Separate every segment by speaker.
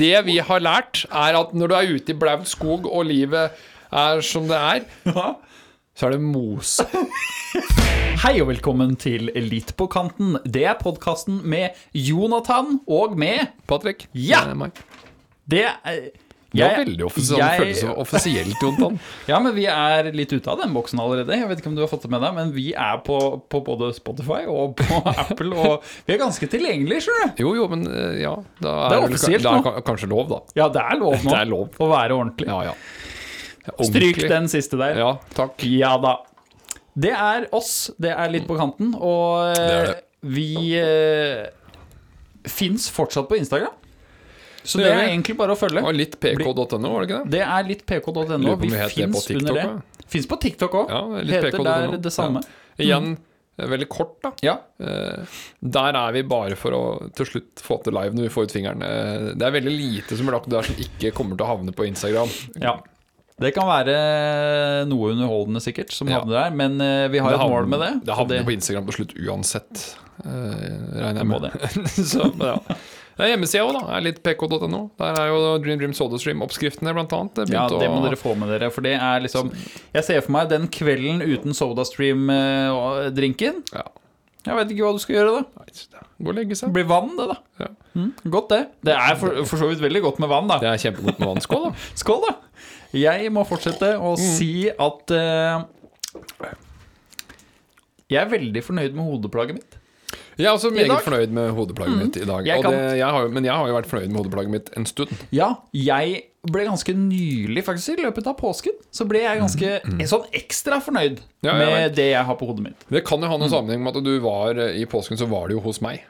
Speaker 1: det vi har lært, er at når du er ute i blaut skog, og livet er som det er, så er det mose.
Speaker 2: Hei og velkommen til Litt på kanten. Det er podkasten med Jonathan og med
Speaker 1: Patrick?
Speaker 2: Ja!
Speaker 1: Det er meg.
Speaker 2: Det er
Speaker 1: Det var veldig offisielt, sånn, det
Speaker 2: jeg-
Speaker 1: føltes så offisielt, Jontan.
Speaker 2: Ja, men vi er litt ute av den boksen allerede. Jeg vet ikke om du har fått det med deg, men vi er på, på både Spotify og på Apple, og vi er ganske tilgjengelige, skjønner du.
Speaker 1: Jo, jo, men eh, ja. Da
Speaker 2: Det er
Speaker 1: vel-
Speaker 2: offisielt
Speaker 1: da er
Speaker 2: nå.
Speaker 1: ka- kanskje lov, da.
Speaker 2: Ja, det er lov nå.
Speaker 1: Det er lov.
Speaker 2: Å være ordentlig.
Speaker 1: Ja, ja.
Speaker 2: Stryk
Speaker 1: Ordentlig.
Speaker 2: den siste der.
Speaker 1: Ja, takk.
Speaker 2: Ja da. Det er oss. Det er litt på kanten,
Speaker 1: er
Speaker 2: og
Speaker 1: det.
Speaker 2: eh, vi eh, fins fortsatt på Instagram. Så
Speaker 1: Det
Speaker 2: det
Speaker 1: gjør
Speaker 2: er
Speaker 1: vi.
Speaker 2: egentlig bare å følge.
Speaker 1: Og litt pk.no, var det ikke det?
Speaker 2: Det er litt pk.no.
Speaker 1: Lurer på om
Speaker 2: Vi
Speaker 1: vi het det på
Speaker 2: fins
Speaker 1: TikTok
Speaker 2: under det.
Speaker 1: også.
Speaker 2: Fins på TikTok òg.
Speaker 1: Ja, litt
Speaker 2: Heter
Speaker 1: pk.no.
Speaker 2: der det samme.
Speaker 1: Igjen, eh, veldig kort, da.
Speaker 2: Ja.
Speaker 1: Eh, Der er vi bare for å til slutt få til live når vi får ut fingeren. Eh, Det er veldig lite som er lagt der som ikke kommer til å havne på Instagram.
Speaker 2: ja. Det kan være noe underholdende, sikkert, som
Speaker 1: Ja.
Speaker 2: havner der, men eh, vi har
Speaker 1: Det
Speaker 2: et
Speaker 1: havner-
Speaker 2: mål med det.
Speaker 1: Det
Speaker 2: og
Speaker 1: havner på Instagram til slutt uansett, eh, regner jeg
Speaker 2: Må
Speaker 1: med. Så, men ja. Det er hjemmesida òg, da. er litt pk.no. Der er jo Dream Dream SodaStream-oppskriftene, blant annet.
Speaker 2: ja,
Speaker 1: begynt
Speaker 2: det må
Speaker 1: å-
Speaker 2: dere få med dere. For det er liksom Jeg ser for meg den kvelden uten SodaStream-drinken.
Speaker 1: ja.
Speaker 2: Jeg veit ikke hva du skal gjøre, da.
Speaker 1: Nei, det Gå og legge
Speaker 2: Det
Speaker 1: seg.
Speaker 2: blir vann, det, da.
Speaker 1: Ja.
Speaker 2: Mm, godt, det. Det er for, for så vidt veldig godt med vann, da.
Speaker 1: Det er kjempegodt med vann. Skål, da.
Speaker 2: Skål, da! Jeg må fortsette å si at eh, Jeg er veldig fornøyd med hodeplagget mitt.
Speaker 1: Jeg er også meget
Speaker 2: dag?
Speaker 1: fornøyd med hodeplagget mitt i dag.
Speaker 2: Mm. Jeg
Speaker 1: og
Speaker 2: kan-
Speaker 1: det, jeg har, jo- men jeg har jo vært fornøyd med hodeplagget mitt en stund.
Speaker 2: Ja, jeg ble ganske nylig, faktisk, i løpet av påsken, så ble jeg ganske sånn ekstra fornøyd
Speaker 1: Ja, jeg
Speaker 2: med det jeg har på hodet mitt.
Speaker 1: Det kan jo ha
Speaker 2: Mm.
Speaker 1: noen sammenheng med at du var eh, i påsken, så var du jo hos meg.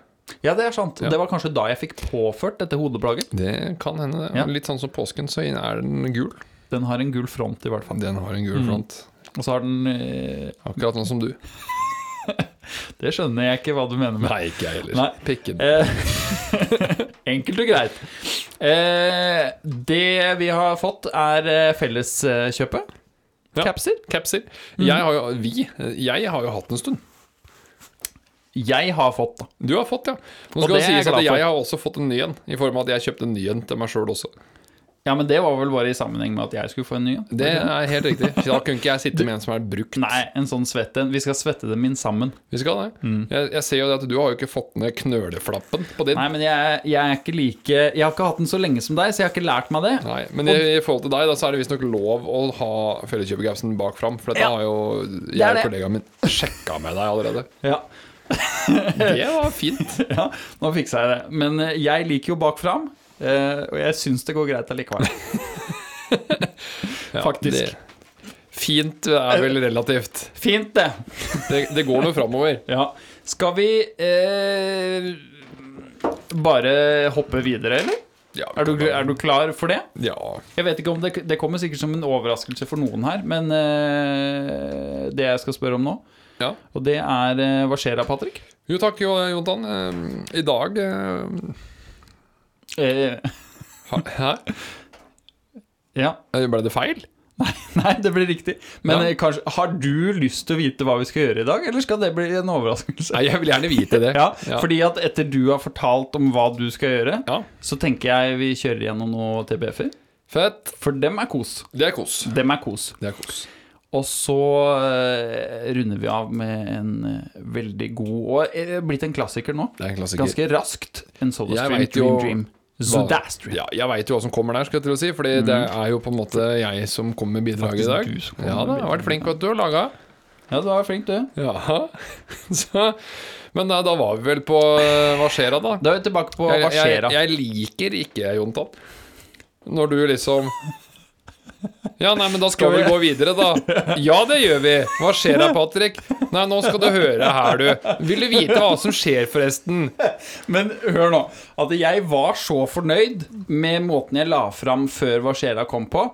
Speaker 2: Ja, det er sant. Det var kanskje da jeg fikk påført dette hodeplagget.
Speaker 1: Det kan hende. det.
Speaker 2: Ja.
Speaker 1: Litt sånn som påsken, så er den gul.
Speaker 2: Den har en gul front, i hvert fall.
Speaker 1: Den har en
Speaker 2: Mm.
Speaker 1: gul front.
Speaker 2: Og så har den eh,
Speaker 1: Akkurat sånn som du.
Speaker 2: Det skjønner jeg ikke hva du mener med.
Speaker 1: Nei, ikke jeg heller.
Speaker 2: Nei.
Speaker 1: Pikken.
Speaker 2: Eh, Enkelt og greit. Eh, det vi har fått, er eh, felleskjøpet.
Speaker 1: Ja.
Speaker 2: Capser.
Speaker 1: Capser.
Speaker 2: Mm.
Speaker 1: Jeg har jo, vi, jeg har jo hatt en stund.
Speaker 2: Jeg har fått, da.
Speaker 1: Du har fått, ja. Nå
Speaker 2: Og
Speaker 1: skal
Speaker 2: det
Speaker 1: det
Speaker 2: er jeg
Speaker 1: sies at
Speaker 2: glad for.
Speaker 1: jeg har også fått en ny en, i form av at jeg kjøpte en ny en til meg sjøl også.
Speaker 2: Ja, men det var vel bare i sammenheng med at jeg skulle få en ny en.
Speaker 1: Det er helt riktig. Da kunne ikke jeg sitte med en som er brukt.
Speaker 2: Nei, en sånn svett en. Vi skal svette dem inn sammen.
Speaker 1: Vi skal det.
Speaker 2: Mm.
Speaker 1: Jeg, jeg ser jo det at du har jo ikke fått ned knøleflappen på din.
Speaker 2: Nei,
Speaker 1: Nei,
Speaker 2: men jeg, er- jeg er ikke like Jeg har ikke hatt den så lenge som deg, så jeg har ikke lært meg det.
Speaker 1: Men i, i forhold til deg, da, så er det visstnok lov å ha felleskjøpergapsen bak fram. For dette
Speaker 2: Ja.
Speaker 1: har jo jeg
Speaker 2: er
Speaker 1: og
Speaker 2: det.
Speaker 1: kollegaen min sjekka med deg allerede.
Speaker 2: Ja,
Speaker 1: Det var fint.
Speaker 2: ja Nå fiksa jeg det. Men eh, jeg liker jo bak fram, eh, og jeg syns det går greit allikevel.
Speaker 1: Ja,
Speaker 2: Faktisk.
Speaker 1: Det, fint er vel relativt.
Speaker 2: Fint, det.
Speaker 1: Det, det går noe framover.
Speaker 2: Ja. Skal vi eh, bare hoppe videre, eller?
Speaker 1: Ja,
Speaker 2: Er du, er du klar for det?
Speaker 1: Ja.
Speaker 2: Jeg vet ikke om det, det kommer sikkert som en overraskelse for noen her, men eh, det jeg skal spørre om nå,
Speaker 1: ja.
Speaker 2: og det er eh, Hva skjer da, Patrick?
Speaker 1: Jo takk, Jo- Jontan. Eh, I dag eh,
Speaker 2: Eh,
Speaker 1: ha- Hæ? Eh,
Speaker 2: ja.
Speaker 1: Ble det feil?
Speaker 2: Nei, det blir riktig. Men
Speaker 1: Ja.
Speaker 2: eh, kanskje, har du lyst til å vite hva vi skal gjøre i dag, eller skal det bli en overraskelse?
Speaker 1: Nei, jeg vil gjerne vite det.
Speaker 2: Ja,
Speaker 1: Ja.
Speaker 2: fordi at etter du har fortalt om hva du skal gjøre,
Speaker 1: Ja.
Speaker 2: så tenker jeg vi kjører gjennom noen TBF-er.
Speaker 1: Fett.
Speaker 2: For dem er kos.
Speaker 1: Det er kos.
Speaker 2: Dem er kos.
Speaker 1: Det er kos.
Speaker 2: Og så eh, runder vi av med en eh, veldig god Og eh, blitt en klassiker nå.
Speaker 1: Det er en klassiker.
Speaker 2: Ganske raskt. En SodaStream
Speaker 1: vet jo
Speaker 2: Dream Dream.
Speaker 1: Hva-
Speaker 2: Zodastream.
Speaker 1: Ja, jeg veit jo hva som kommer der, skal jeg til å si. Fordi det er jo på en måte jeg som kommer med bidraget i
Speaker 2: Mm. Faktisk
Speaker 1: dag.
Speaker 2: du som kommer
Speaker 1: Ja
Speaker 2: med
Speaker 1: da, jeg har vært flink til å lage.
Speaker 2: Ja, du var flink, du.
Speaker 1: Ja. Så, men da, da var vi vel på eh, Hva skjer da? da?
Speaker 2: Da er vi tilbake på hva
Speaker 1: Jeg,
Speaker 2: skjer
Speaker 1: jeg,
Speaker 2: da.
Speaker 1: jeg liker ikke Jontan. Når du liksom Ja, nei, men da skal vi gå videre, da. Ja, det gjør vi. Hva skjer da, Patrick? Nei, nå skal du høre her, du. Vil du vite hva som skjer, forresten?
Speaker 2: Men hør nå. At jeg var så fornøyd med måten jeg la fram før Hva skjer da kom på,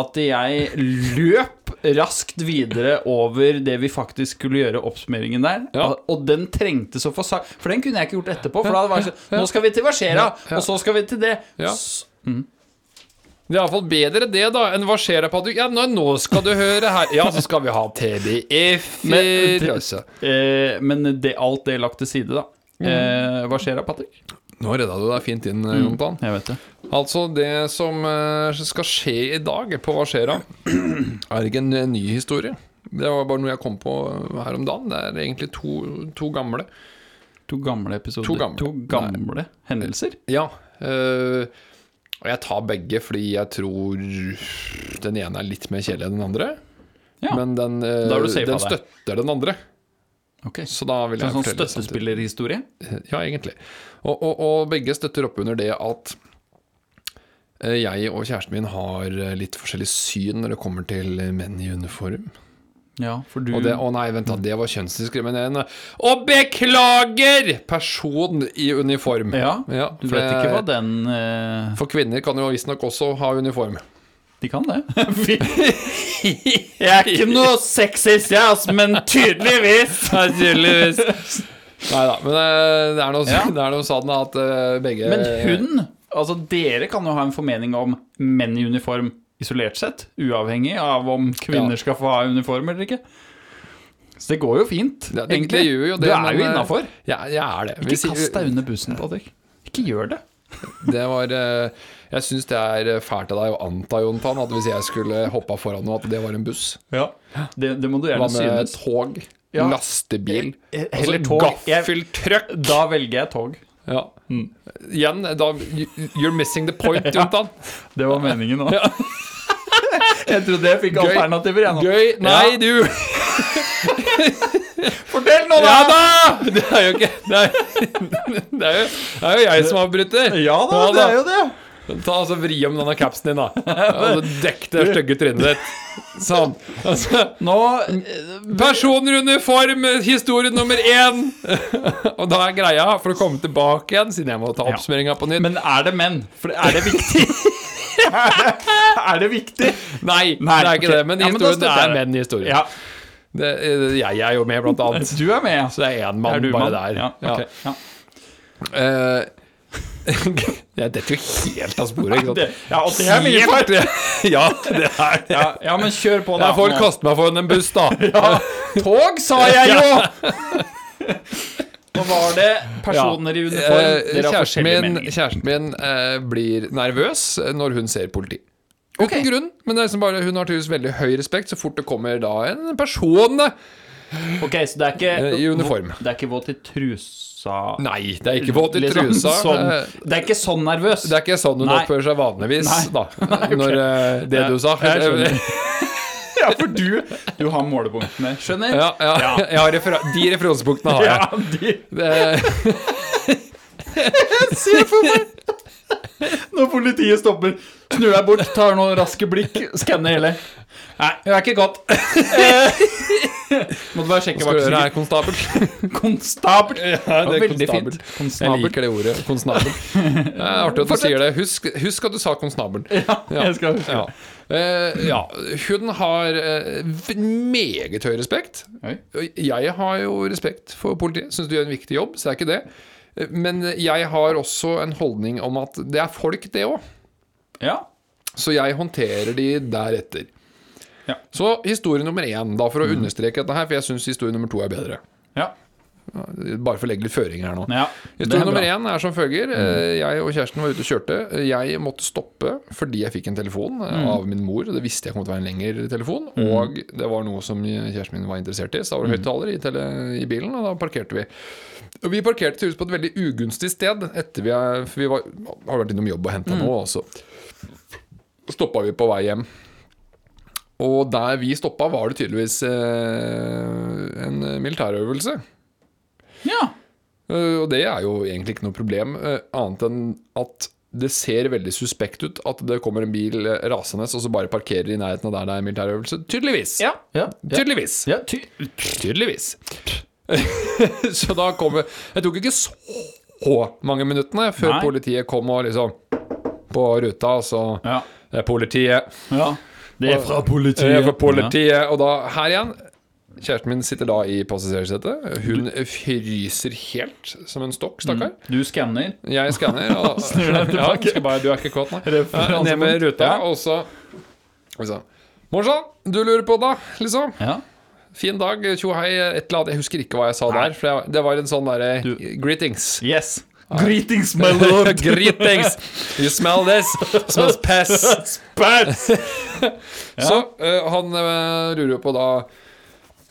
Speaker 2: at jeg løp raskt videre over det vi faktisk skulle gjøre, oppsummeringen der.
Speaker 1: Ja.
Speaker 2: Og- Og den trengtes å få sagt. For den kunne jeg ikke gjort etterpå. For da var det sånn Nå skal vi til Hva skjer da? Og så skal vi til det.
Speaker 1: Ja.
Speaker 2: S-
Speaker 1: Det er iallfall bedre det, da, enn hva skjer da, Patrick? Ja, nå, nå skal du høre her. Ja, så skal vi ha
Speaker 2: Men-
Speaker 1: TDF-er. altså.
Speaker 2: Eh, men det, alt
Speaker 1: Mm.
Speaker 2: det lagt til side, da. Eh, hva skjer da, Patrick? Mm.
Speaker 1: Nå redda du deg fint inn, eh, Jontan.
Speaker 2: Jeg vet det.
Speaker 1: Altså, det som eh, skal skje i dag på Hva skjer'a, er ikke en eh, ny historie. Det var bare noe jeg kom på eh, her om dagen. Det er egentlig to, to gamle.
Speaker 2: To gamle episoder.
Speaker 1: To gamle.
Speaker 2: gamle hendelser.
Speaker 1: Ja. eh, og jeg tar begge fordi jeg tror den ene er litt mer kjedelig enn den andre.
Speaker 2: Ja.
Speaker 1: Men den, eh,
Speaker 2: Da er du safe
Speaker 1: den
Speaker 2: av deg.
Speaker 1: støtter den andre.
Speaker 2: Ok, så
Speaker 1: Så da vil
Speaker 2: en
Speaker 1: jeg
Speaker 2: sånn
Speaker 1: fortelle liksom. samtidig.
Speaker 2: støttespillerhistorie?
Speaker 1: Ja, egentlig. Og, og, og begge støtter opp under det at eh, jeg og kjæresten min har eh, litt forskjellig syn når det kommer til eh, menn i uniform.
Speaker 2: Ja, for du
Speaker 1: Og det, å nei, vent da, det var kjønnsdiskriminerende. Og beklager! Person i uniform.
Speaker 2: Ja, Du
Speaker 1: for
Speaker 2: vet
Speaker 1: det-
Speaker 2: ikke hva den eh,
Speaker 1: For kvinner kan jo visstnok også ha uniform.
Speaker 2: De kan det. jeg er ikke noe sexist, jeg, altså, men tydeligvis.
Speaker 1: Nei da, men eh, det er noe,
Speaker 2: Ja.
Speaker 1: det er noe sånn at eh, begge
Speaker 2: Men hun Altså, dere kan jo ha en formening om menn i uniform isolert sett, uavhengig av om kvinner
Speaker 1: Ja.
Speaker 2: skal få ha uniform eller ikke. Så det går jo fint,
Speaker 1: Ja, det- det gjør jo det,
Speaker 2: du er
Speaker 1: men,
Speaker 2: jo
Speaker 1: eh,
Speaker 2: innafor.
Speaker 1: Ja, jeg er det. Vi
Speaker 2: Ikke
Speaker 1: sier-
Speaker 2: kast deg under bussen, Patrick. Ikke gjør det.
Speaker 1: Det var eh, Jeg syns det er eh, fælt av deg å anta, Jontan, at hvis jeg skulle hoppa foran noe, at det var en buss.
Speaker 2: Det, det må du
Speaker 1: Hva
Speaker 2: gjerne
Speaker 1: med
Speaker 2: synes.
Speaker 1: tog?
Speaker 2: Ja.
Speaker 1: Lastebil?
Speaker 2: Eh, eh,
Speaker 1: Altså
Speaker 2: heller tog.
Speaker 1: gaffeltrøkk?
Speaker 2: Da velger jeg tog.
Speaker 1: Ja. Mm. Igjen, da You're missing the point, Jontan.
Speaker 2: Det var meningen nå. jeg trodde jeg fikk
Speaker 1: Gøy.
Speaker 2: alternativer, jeg nå.
Speaker 1: Gøy. Nei, du
Speaker 2: Fortell nå,
Speaker 1: Ja da! Det er jo ikke Det er, det er, jo, det er jo jeg som avbryter.
Speaker 2: Ja da,
Speaker 1: Ja
Speaker 2: det
Speaker 1: da.
Speaker 2: er jo det.
Speaker 1: Ta altså Vri om denne capsen din, da. Og dekk det stygge trynet ditt. Sånn. Altså
Speaker 2: Nå
Speaker 1: Personer i uniform, historie nummer én! og da er greia, for å komme tilbake igjen, siden jeg må ta oppsummeringa på nytt
Speaker 2: Men er det menn? For er det viktig? er, det, er det viktig?
Speaker 1: Nei,
Speaker 2: Nei,
Speaker 1: det er ikke
Speaker 2: ok.
Speaker 1: det. Men de
Speaker 2: Ja, men
Speaker 1: historiene det
Speaker 2: da støtter
Speaker 1: er
Speaker 2: jeg det.
Speaker 1: menn i historien.
Speaker 2: Ja,
Speaker 1: Det, eh, jeg er jo med, blant annet.
Speaker 2: du er med.
Speaker 1: Så det er én mann
Speaker 2: er du
Speaker 1: bare
Speaker 2: mann?
Speaker 1: der.
Speaker 2: Ja, ok.
Speaker 1: Ja. Eh, jeg detter jo helt av sporet.
Speaker 2: Ja.
Speaker 1: Ikke sant?
Speaker 2: Det, ja, og det er mye
Speaker 1: Helt-
Speaker 2: feil.
Speaker 1: ja, det er det.
Speaker 2: Ja, ja, men kjør på, da.
Speaker 1: Jeg får
Speaker 2: Nå.
Speaker 1: kaste meg foran en buss, da.
Speaker 2: Ja, tog, sa jeg jo! Nå var det personer i
Speaker 1: Eh,
Speaker 2: uniform. Dere har
Speaker 1: kjæresten
Speaker 2: forskjellige
Speaker 1: min,
Speaker 2: meninger.
Speaker 1: kjæresten min eh, blir nervøs når hun ser politi. Uten
Speaker 2: Ok.
Speaker 1: grunn, men det er liksom bare, hun har tydeligvis veldig høy respekt så fort det kommer da en person eh. da.
Speaker 2: Ok, så det er ikke
Speaker 1: Eh, i uniform.
Speaker 2: Det er ikke våt i trusa
Speaker 1: Nei, det er ikke våt i
Speaker 2: Liksom
Speaker 1: trusa.
Speaker 2: Sånn.
Speaker 1: Eh,
Speaker 2: Det er ikke sånn nervøs.
Speaker 1: Det er ikke sånn hun
Speaker 2: Nei.
Speaker 1: oppfører seg vanligvis,
Speaker 2: Nei.
Speaker 1: da. Når eh, det du sa.
Speaker 2: Jeg skjønner. Ja, for du, du har målepunktene. Skjønner?
Speaker 1: Ja, ja,
Speaker 2: Ja.
Speaker 1: Jeg har refer de referansepunktene har jeg.
Speaker 2: Ja, de
Speaker 1: Det,
Speaker 2: Se for meg Når politiet stopper, snur deg bort, tar noen raske blikk, skanner hele. Nei, det er ikke godt. Måtte bare sjekke
Speaker 1: skal du gjøre
Speaker 2: vaksinen.
Speaker 1: her, konstabel?
Speaker 2: Konstabel.
Speaker 1: Ja, det er
Speaker 2: veldig
Speaker 1: konstabel.
Speaker 2: fint.
Speaker 1: Jeg
Speaker 2: Konstabel.
Speaker 1: liker det ordet. Konstabel. Det er artig at du sier det. Husk, husk at du sa konstabel.
Speaker 2: Ja, jeg skal
Speaker 1: Ja. Eh, ja. Hun har eh, v- meget høy respekt.
Speaker 2: Oi.
Speaker 1: Jeg har jo respekt for politiet. Syns du gjør en viktig jobb, så det er ikke det. Eh, Men jeg har også en holdning om at det er folk, det òg.
Speaker 2: Ja.
Speaker 1: Så jeg håndterer de deretter.
Speaker 2: Ja. Mm.
Speaker 1: Så historie nummer én, da, for å understreke dette her, for jeg syns historie nummer to er bedre.
Speaker 2: Ja.
Speaker 1: Bare for å legge litt føringer her nå.
Speaker 2: ja. Det
Speaker 1: Historie
Speaker 2: er
Speaker 1: nummer
Speaker 2: bra. Mm.
Speaker 1: én er som følger. Eh, Jeg og kjæresten var ute og kjørte. Jeg måtte stoppe fordi jeg fikk en telefon eh,
Speaker 2: Mm.
Speaker 1: av min mor. Det visste jeg kom til å være en lengre telefon. Og det var noe som kjæresten min var interessert i. Så da var det
Speaker 2: Mm.
Speaker 1: høyttaler i, tele- i bilen, og da parkerte vi. Og vi parkerte tydeligvis på et veldig ugunstig sted, etter vi er, for vi var, har vært innom jobb og
Speaker 2: Mm.
Speaker 1: henta noe. Og så stoppa vi på vei hjem. Og der vi stoppa, var det tydeligvis eh, en militærøvelse.
Speaker 2: Ja.
Speaker 1: Eh, Og det er jo egentlig ikke noe problem, eh, annet enn at det ser veldig suspekt ut at det kommer en bil eh, rasende og så bare parkerer i nærheten av der det er militærøvelse. Tydeligvis!
Speaker 2: Ja. Ja. Ja.
Speaker 1: Tydeligvis!
Speaker 2: Ja. Ty
Speaker 1: Tydeligvis. så da kommer Det tok ikke så mange minuttene før
Speaker 2: Nei.
Speaker 1: politiet kom og liksom På ruta, og så
Speaker 2: ja.
Speaker 1: Det er politiet.
Speaker 2: ja. Det er fra politiet.
Speaker 1: Det er fra politiet. Og da, her igjen Kjæresten min sitter da i passasjersetet. Hun fryser helt som en stokk, stakkar.
Speaker 2: Ja. Du skanner.
Speaker 1: Jeg skanner og
Speaker 2: Snur deg
Speaker 1: Ja,
Speaker 2: tilbake.
Speaker 1: skal bare, du er ikke kåt, nei. Ja,
Speaker 2: Referansepunkt.
Speaker 1: ned med ruta,
Speaker 2: Ja.
Speaker 1: og så og så, Morsan, du lurer på da, liksom.
Speaker 2: Ja.
Speaker 1: Fin dag, tjo hei, et eller annet. Jeg husker ikke hva jeg sa der, for jeg, det var en sånn derre
Speaker 2: Du-
Speaker 1: greetings.
Speaker 2: Yes. Greetings, my lord.
Speaker 1: Greetings! You smell this? Smells piss!
Speaker 2: Spats!
Speaker 1: Så eh, han eh, lurer jo på da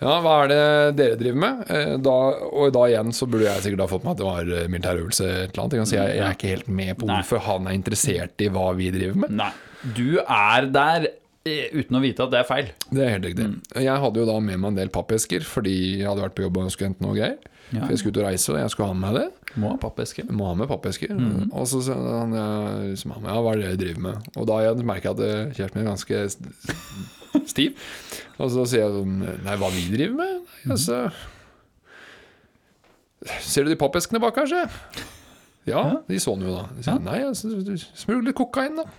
Speaker 1: Ja, hva er det dere driver med? Eh, da, og da igjen så burde jeg sikkert ha fått med at det var eh, militærøvelse eller et eller annet. Jeg, kan si, jeg, jeg er ikke helt med på
Speaker 2: Nei. Mm.
Speaker 1: hvorfor han er interessert i hva vi driver med.
Speaker 2: Nei, du er der eh, uten å vite at det er feil.
Speaker 1: Det er helt riktig.
Speaker 2: Mm.
Speaker 1: Jeg hadde jo da med meg en del pappesker fordi jeg hadde vært på jobb og skulle hente noe greier.
Speaker 2: Ja.
Speaker 1: For jeg skulle ut og reise, og jeg skulle ha med meg det.
Speaker 2: Må ha pappeske.
Speaker 1: må ha med pappesker. Og så sa han ja, liksom, han, ja, hva er det dere driver med? Og da jeg merker jeg at eh, kjæresten min er ganske st- stiv. Og så sier jeg sånn Nei, hva vi driver med? Nei, altså Ser du de pappeskene bak her, sier jeg. Ja, de så han jo da. Så, Nei, altså, du smugler litt kokain, da.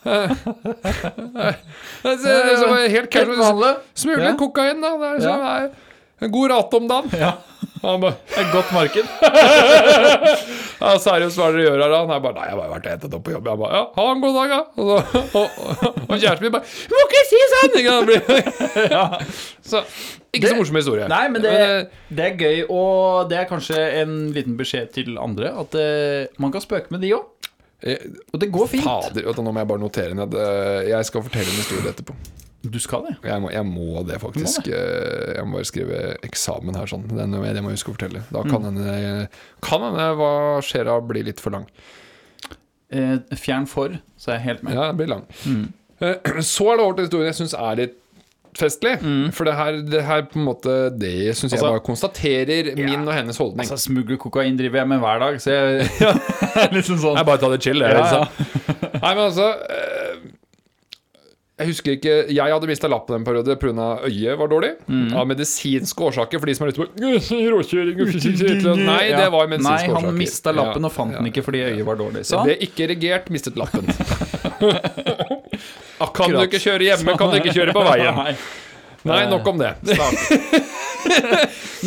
Speaker 1: Eh, eh, så, så, var jeg helt casual. Smugler
Speaker 2: Ja.
Speaker 1: kokain, da. Det er, så, nei, en god rate om dagen.
Speaker 2: Ja.
Speaker 1: Han bare
Speaker 2: Et godt marked.
Speaker 1: Ja, seriøst, hva er det dere gjør her da? Han er bare, nei, jeg har bare vært og hentet opp på jobb. Jeg bare, ja, ha en god dag, da. Og, så, og, og, og kjæresten min bare, du må ikke si sånn! Ikke sant? Det blir- Så, ikke
Speaker 2: Det-
Speaker 1: så morsom historie.
Speaker 2: Nei, men det,
Speaker 1: Men, eh,
Speaker 2: det er gøy, og det er kanskje en liten beskjed til andre. At eh, man kan spøke med de òg.
Speaker 1: eh,
Speaker 2: Og det går fint.
Speaker 1: Fader, vet du, nå må jeg bare notere ned. eh, Jeg skal fortelle en historie etterpå.
Speaker 2: Du skal det.
Speaker 1: Jeg må, jeg må det, faktisk. Eh, Jeg må bare skrive eksamen her, sånn. Den, det må jeg huske å fortelle. Da
Speaker 2: Mm.
Speaker 1: kan hende Kan hende hva skjer da, blir litt for lang.
Speaker 2: Eh, fjern for, så er jeg helt med.
Speaker 1: Ja, den blir lang.
Speaker 2: Mm.
Speaker 1: Eh, Så er det over til historien jeg syns er litt festlig. For det her, det her på en måte Det syns jeg
Speaker 2: Mm. Altså-
Speaker 1: bare konstaterer min og hennes holdning.
Speaker 2: Altså, Smugler kokain driver jeg med hver dag, så jeg er liksom sånn
Speaker 1: jeg bare tar det chill. jeg,
Speaker 2: Ja,
Speaker 1: liksom.
Speaker 2: ja.
Speaker 1: Nei, men altså eh, Jeg husker ikke Jeg hadde mista lappen en periode pga. øyet var dårlig.
Speaker 2: Mm.
Speaker 1: Av medisinske årsaker, for de som er ute på råkjøring og fysikk- Nei, det var jo medisinske
Speaker 2: Nei,
Speaker 1: årsaker.
Speaker 2: han mista lappen og fant
Speaker 1: ja.
Speaker 2: den ikke fordi øyet var dårlig.
Speaker 1: Det
Speaker 2: Sånn. Så
Speaker 1: ble ikke regert, mistet lappen. Ah, Kan du ikke kjøre hjemme, kan du ikke kjøre på veien.
Speaker 2: Nei.
Speaker 1: Nei, nok om det.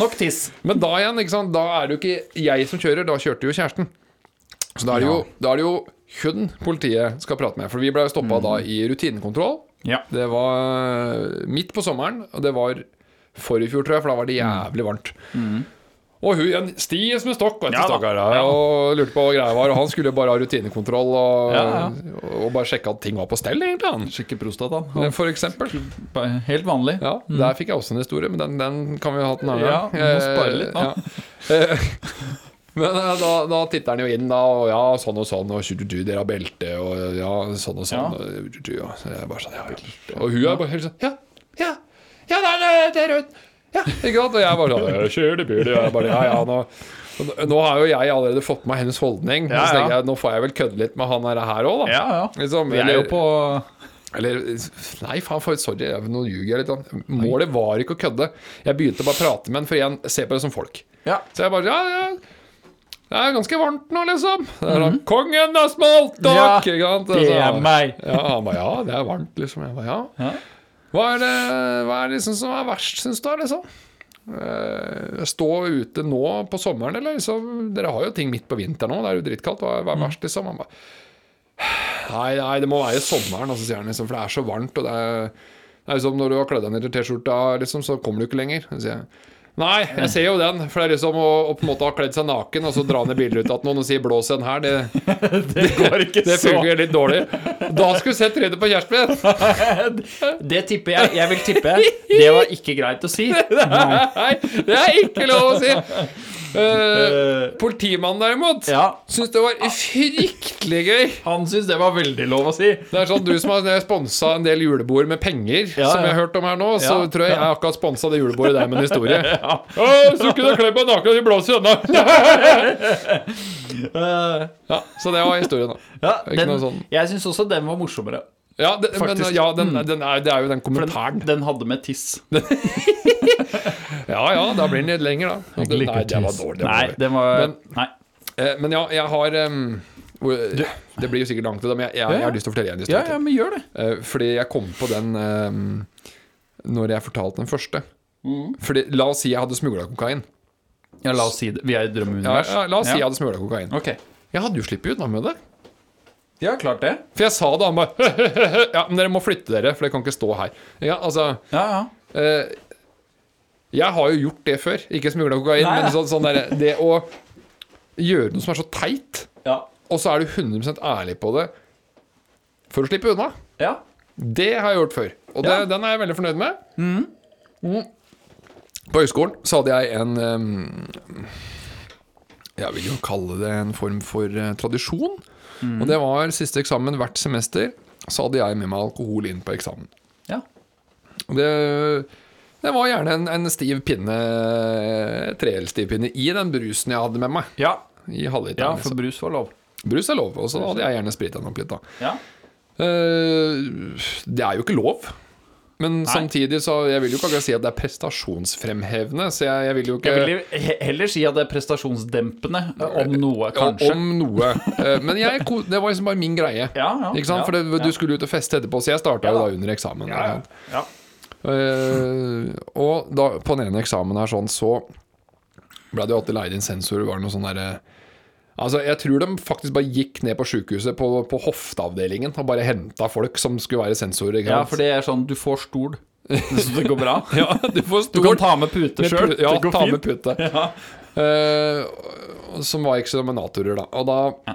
Speaker 2: Nok tiss.
Speaker 1: Men da igjen, ikke sant? da er det jo ikke jeg som kjører, da kjørte jo kjæresten. Så da er det jo, da er det jo hun politiet skal prate med. For vi ble stoppa da
Speaker 2: Mm.
Speaker 1: i rutinekontroll.
Speaker 2: Ja.
Speaker 1: Det var eh, midt på sommeren, og det var forrige fjor, tror jeg, for da var det jævlig varmt. Og hun igjen stie som en stokk, vet du,
Speaker 2: Mm. Ja da.
Speaker 1: stakkar. ja, Og lurte på hva greia var. Og han skulle jo bare ha rutinekontroll og,
Speaker 2: Ja,
Speaker 1: og bare sjekke at ting var på stell, egentlig,
Speaker 2: Sjekke prostataen.
Speaker 1: han. For eksempel.
Speaker 2: Bare Helt vanlig.
Speaker 1: Ja, Der fikk jeg også en historie, men den, den kan vi jo ha til en annen
Speaker 2: Mm. Ja,
Speaker 1: gang. Eh,
Speaker 2: vi må spare litt nå.
Speaker 1: ja. Eh, Men eh, da, da titter han jo inn, da, og ja, sånn og sånn, og tju-tju-tju, dere har belte, og ja, sånn og sånn,
Speaker 2: Ja.
Speaker 1: og tju-tju-tju, og så er jeg bare sånn, ja, ja. Og hun er bare helt sånn, ja, ja, ja, det er, eh, det er rødt, ja, ikke sant? Og jeg bare sånn, «Ja, kjør det bil, og jeg bare, ja, ja, nå... og Nå har jo jeg allerede fått med meg hennes holdning
Speaker 2: Ja,
Speaker 1: Så
Speaker 2: ja.
Speaker 1: tenker jeg, nå får jeg vel kødde litt med han her, her også da
Speaker 2: Ja, ja.
Speaker 1: Liksom,
Speaker 2: Vi er
Speaker 1: eller-
Speaker 2: jo på
Speaker 1: eller Nei, faen, for, sorry, jeg- nå ljuger jeg litt. da. Målet var ikke å kødde. Jeg begynte bare å prate med en, for igjen, se på det som folk.
Speaker 2: Ja.
Speaker 1: Så jeg bare Ja, ja. Det er ganske varmt nå, liksom. Det er da, Kongen er smalt, takk!
Speaker 2: Mhm. Ja,
Speaker 1: ikke sant?
Speaker 2: det er
Speaker 1: Så-
Speaker 2: meg.
Speaker 1: Ja, han bare Ja, det er varmt, liksom. Jeg bare, ja.
Speaker 2: Ja.
Speaker 1: Hva er det hva er det liksom som er verst, syns du, da, liksom? Eh, Stå ute nå på sommeren, eller liksom Dere har jo ting midt på vinteren nå, det er jo dritkaldt. Hva, hva er
Speaker 2: Mhm.
Speaker 1: verst, liksom? Han bare Nei, nei, det må være sommeren, altså, sier han liksom, for det er så varmt. Og det er, det er liksom, når du har kledd deg ned til T-skjorta, liksom, så kommer du ikke lenger. Så sier jeg. Nei, jeg ser jo den. For det er liksom å, å på en måte ha kledd seg naken og så dra ned bildet ut at noen og si 'blås en her', det,
Speaker 2: Det går ikke
Speaker 1: det fungerer litt dårlig. Da skulle du sett trynet på kjæresten min!
Speaker 2: Det tipper jeg. Jeg vil tippe. Det var ikke greit å si.
Speaker 1: Nei, det er ikke lov å si! Eh, politimannen derimot
Speaker 2: Ja.
Speaker 1: syns det var fryktelig gøy.
Speaker 2: Han syns det var veldig lov å si. Eh,
Speaker 1: Det er sånn du som har sponsa en del julebord med penger,
Speaker 2: Ja,
Speaker 1: som jeg har
Speaker 2: ja.
Speaker 1: hørt om her nå, så
Speaker 2: Ja,
Speaker 1: tror jeg jeg har akkurat sponsa det julebordet der med en historie.
Speaker 2: Ja.
Speaker 1: Å, så kunne jeg kledd meg naken i blås i øynene!
Speaker 2: Eh,
Speaker 1: Ja, så det var historien, da.
Speaker 2: ja,
Speaker 1: Ikke
Speaker 2: den,
Speaker 1: noe sånn.
Speaker 2: Jeg syns også den var morsommere.
Speaker 1: Ja, det, men,
Speaker 2: Faktisk. Mm.
Speaker 1: ja den, den er, det er jo den
Speaker 2: For
Speaker 1: kommentaren.
Speaker 2: den, den hadde med tiss.
Speaker 1: Ja ja, da blir den litt lenger, da. At det- Nei, det var dårlig. Det var
Speaker 2: Nei,
Speaker 1: dårlig.
Speaker 2: den var
Speaker 1: Men-
Speaker 2: Nei.
Speaker 1: Eh, Men ja, jeg har em, hvor- Det blir jo sikkert langt, da, men jeg, jeg, jeg har lyst til å fortelle en
Speaker 2: Ja,
Speaker 1: historie.
Speaker 2: ja, men gjør det.
Speaker 1: Eh, Fordi jeg kom på den em, når jeg fortalte den første. Fordi, la oss si jeg hadde smugla kokain.
Speaker 2: Ja, la oss si det. Vi er i
Speaker 1: Ja,
Speaker 2: drømmeunivers.
Speaker 1: ja, la oss si jeg
Speaker 2: Ja.
Speaker 1: hadde smugla kokain.
Speaker 2: Ok.
Speaker 1: Jeg hadde jo sluppet unna med det.
Speaker 2: Ja, klart det.
Speaker 1: For jeg sa det, og han bare Ja, men dere må flytte dere, for dere kan ikke stå her. Ja, altså
Speaker 2: Ja, ja.
Speaker 1: eh, Jeg har jo gjort det før. Ikke smugla kokain,
Speaker 2: Nei,
Speaker 1: men
Speaker 2: nei.
Speaker 1: sånn, sånn derre Det å gjøre noe som er så teit,
Speaker 2: Ja.
Speaker 1: og så er du 100 ærlig på det for å slippe unna.
Speaker 2: ja.
Speaker 1: Det har jeg gjort før, og det,
Speaker 2: Ja.
Speaker 1: den er jeg veldig fornøyd med. Mm. På høyskolen så hadde jeg en ehm, Jeg vil jo kalle det en form for eh, tradisjon. Og det var siste eksamen hvert semester. Så hadde jeg med meg alkohol inn på eksamen.
Speaker 2: Ja.
Speaker 1: Og Det, det var gjerne en, en stiv pinne, trehjellsstiv pinne, i den brusen jeg hadde med meg.
Speaker 2: ja.
Speaker 1: I halvliteren.
Speaker 2: for
Speaker 1: liksom.
Speaker 2: brus var lov.
Speaker 1: Brus er lov, og så hadde jeg gjerne sprita den opp litt, da.
Speaker 2: Ja.
Speaker 1: Eh, det er jo ikke lov. Men samtidig så Jeg vil jo ikke akkurat si at det er prestasjonsfremhevende, så jeg, jeg vil jo ikke
Speaker 2: Jeg vil jo he- heller si at det er prestasjonsdempende, eh, om noe,
Speaker 1: Ja,
Speaker 2: kanskje.
Speaker 1: Om noe. Eh, Men jeg, ko- det var liksom bare min greie.
Speaker 2: Ja, ja.
Speaker 1: Ikke sant?
Speaker 2: ja,
Speaker 1: For det, du skulle ut og feste etterpå, så jeg starta jo
Speaker 2: Ja da.
Speaker 1: da under eksamen.
Speaker 2: ja, ja. ja.
Speaker 1: Eh, og da, på den ene eksamen her sånn, så ble det jo alltid leid inn sensorer. Var det noe sånn derre Altså, jeg tror de faktisk bare gikk ned på sjukehuset, på, på hofteavdelingen, og bare henta folk som skulle være sensorer. ikke
Speaker 2: ja,
Speaker 1: sant?
Speaker 2: for det er sånn du får stol, så det går bra.
Speaker 1: Ja, du får
Speaker 2: Du
Speaker 1: stor
Speaker 2: kan ta med pute
Speaker 1: med
Speaker 2: sjøl.
Speaker 1: pu- Ja,
Speaker 2: det går
Speaker 1: ta med
Speaker 2: fint.
Speaker 1: pute.
Speaker 2: Ja.
Speaker 1: Eh, som var eksaminatorer, da. Og da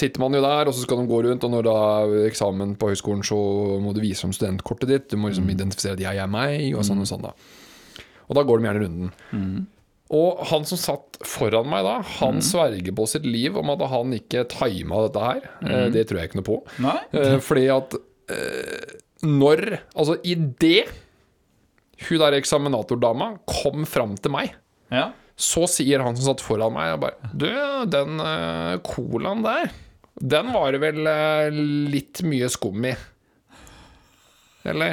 Speaker 1: sitter man jo der, og så skal de gå rundt, og når da er eksamen på høyskolen, så må du vise fram studentkortet ditt. Du må liksom
Speaker 2: Mm.
Speaker 1: identifisere at jeg er meg, og sånn og sånn, da. Og da går de gjerne runden.
Speaker 2: Mm.
Speaker 1: Og han som satt foran meg da, han sverger på sitt liv om at han ikke tima dette her.
Speaker 2: Mm.
Speaker 1: Eh, Det tror jeg ikke noe på.
Speaker 2: Nei?
Speaker 1: Eh, fordi at eh, når Altså, i det hun der eksaminatordama kom fram til meg,
Speaker 2: Ja.
Speaker 1: så sier han som satt foran meg, og bare Du, den eh, colaen der, den var det vel eh, litt mye skum i. Eller?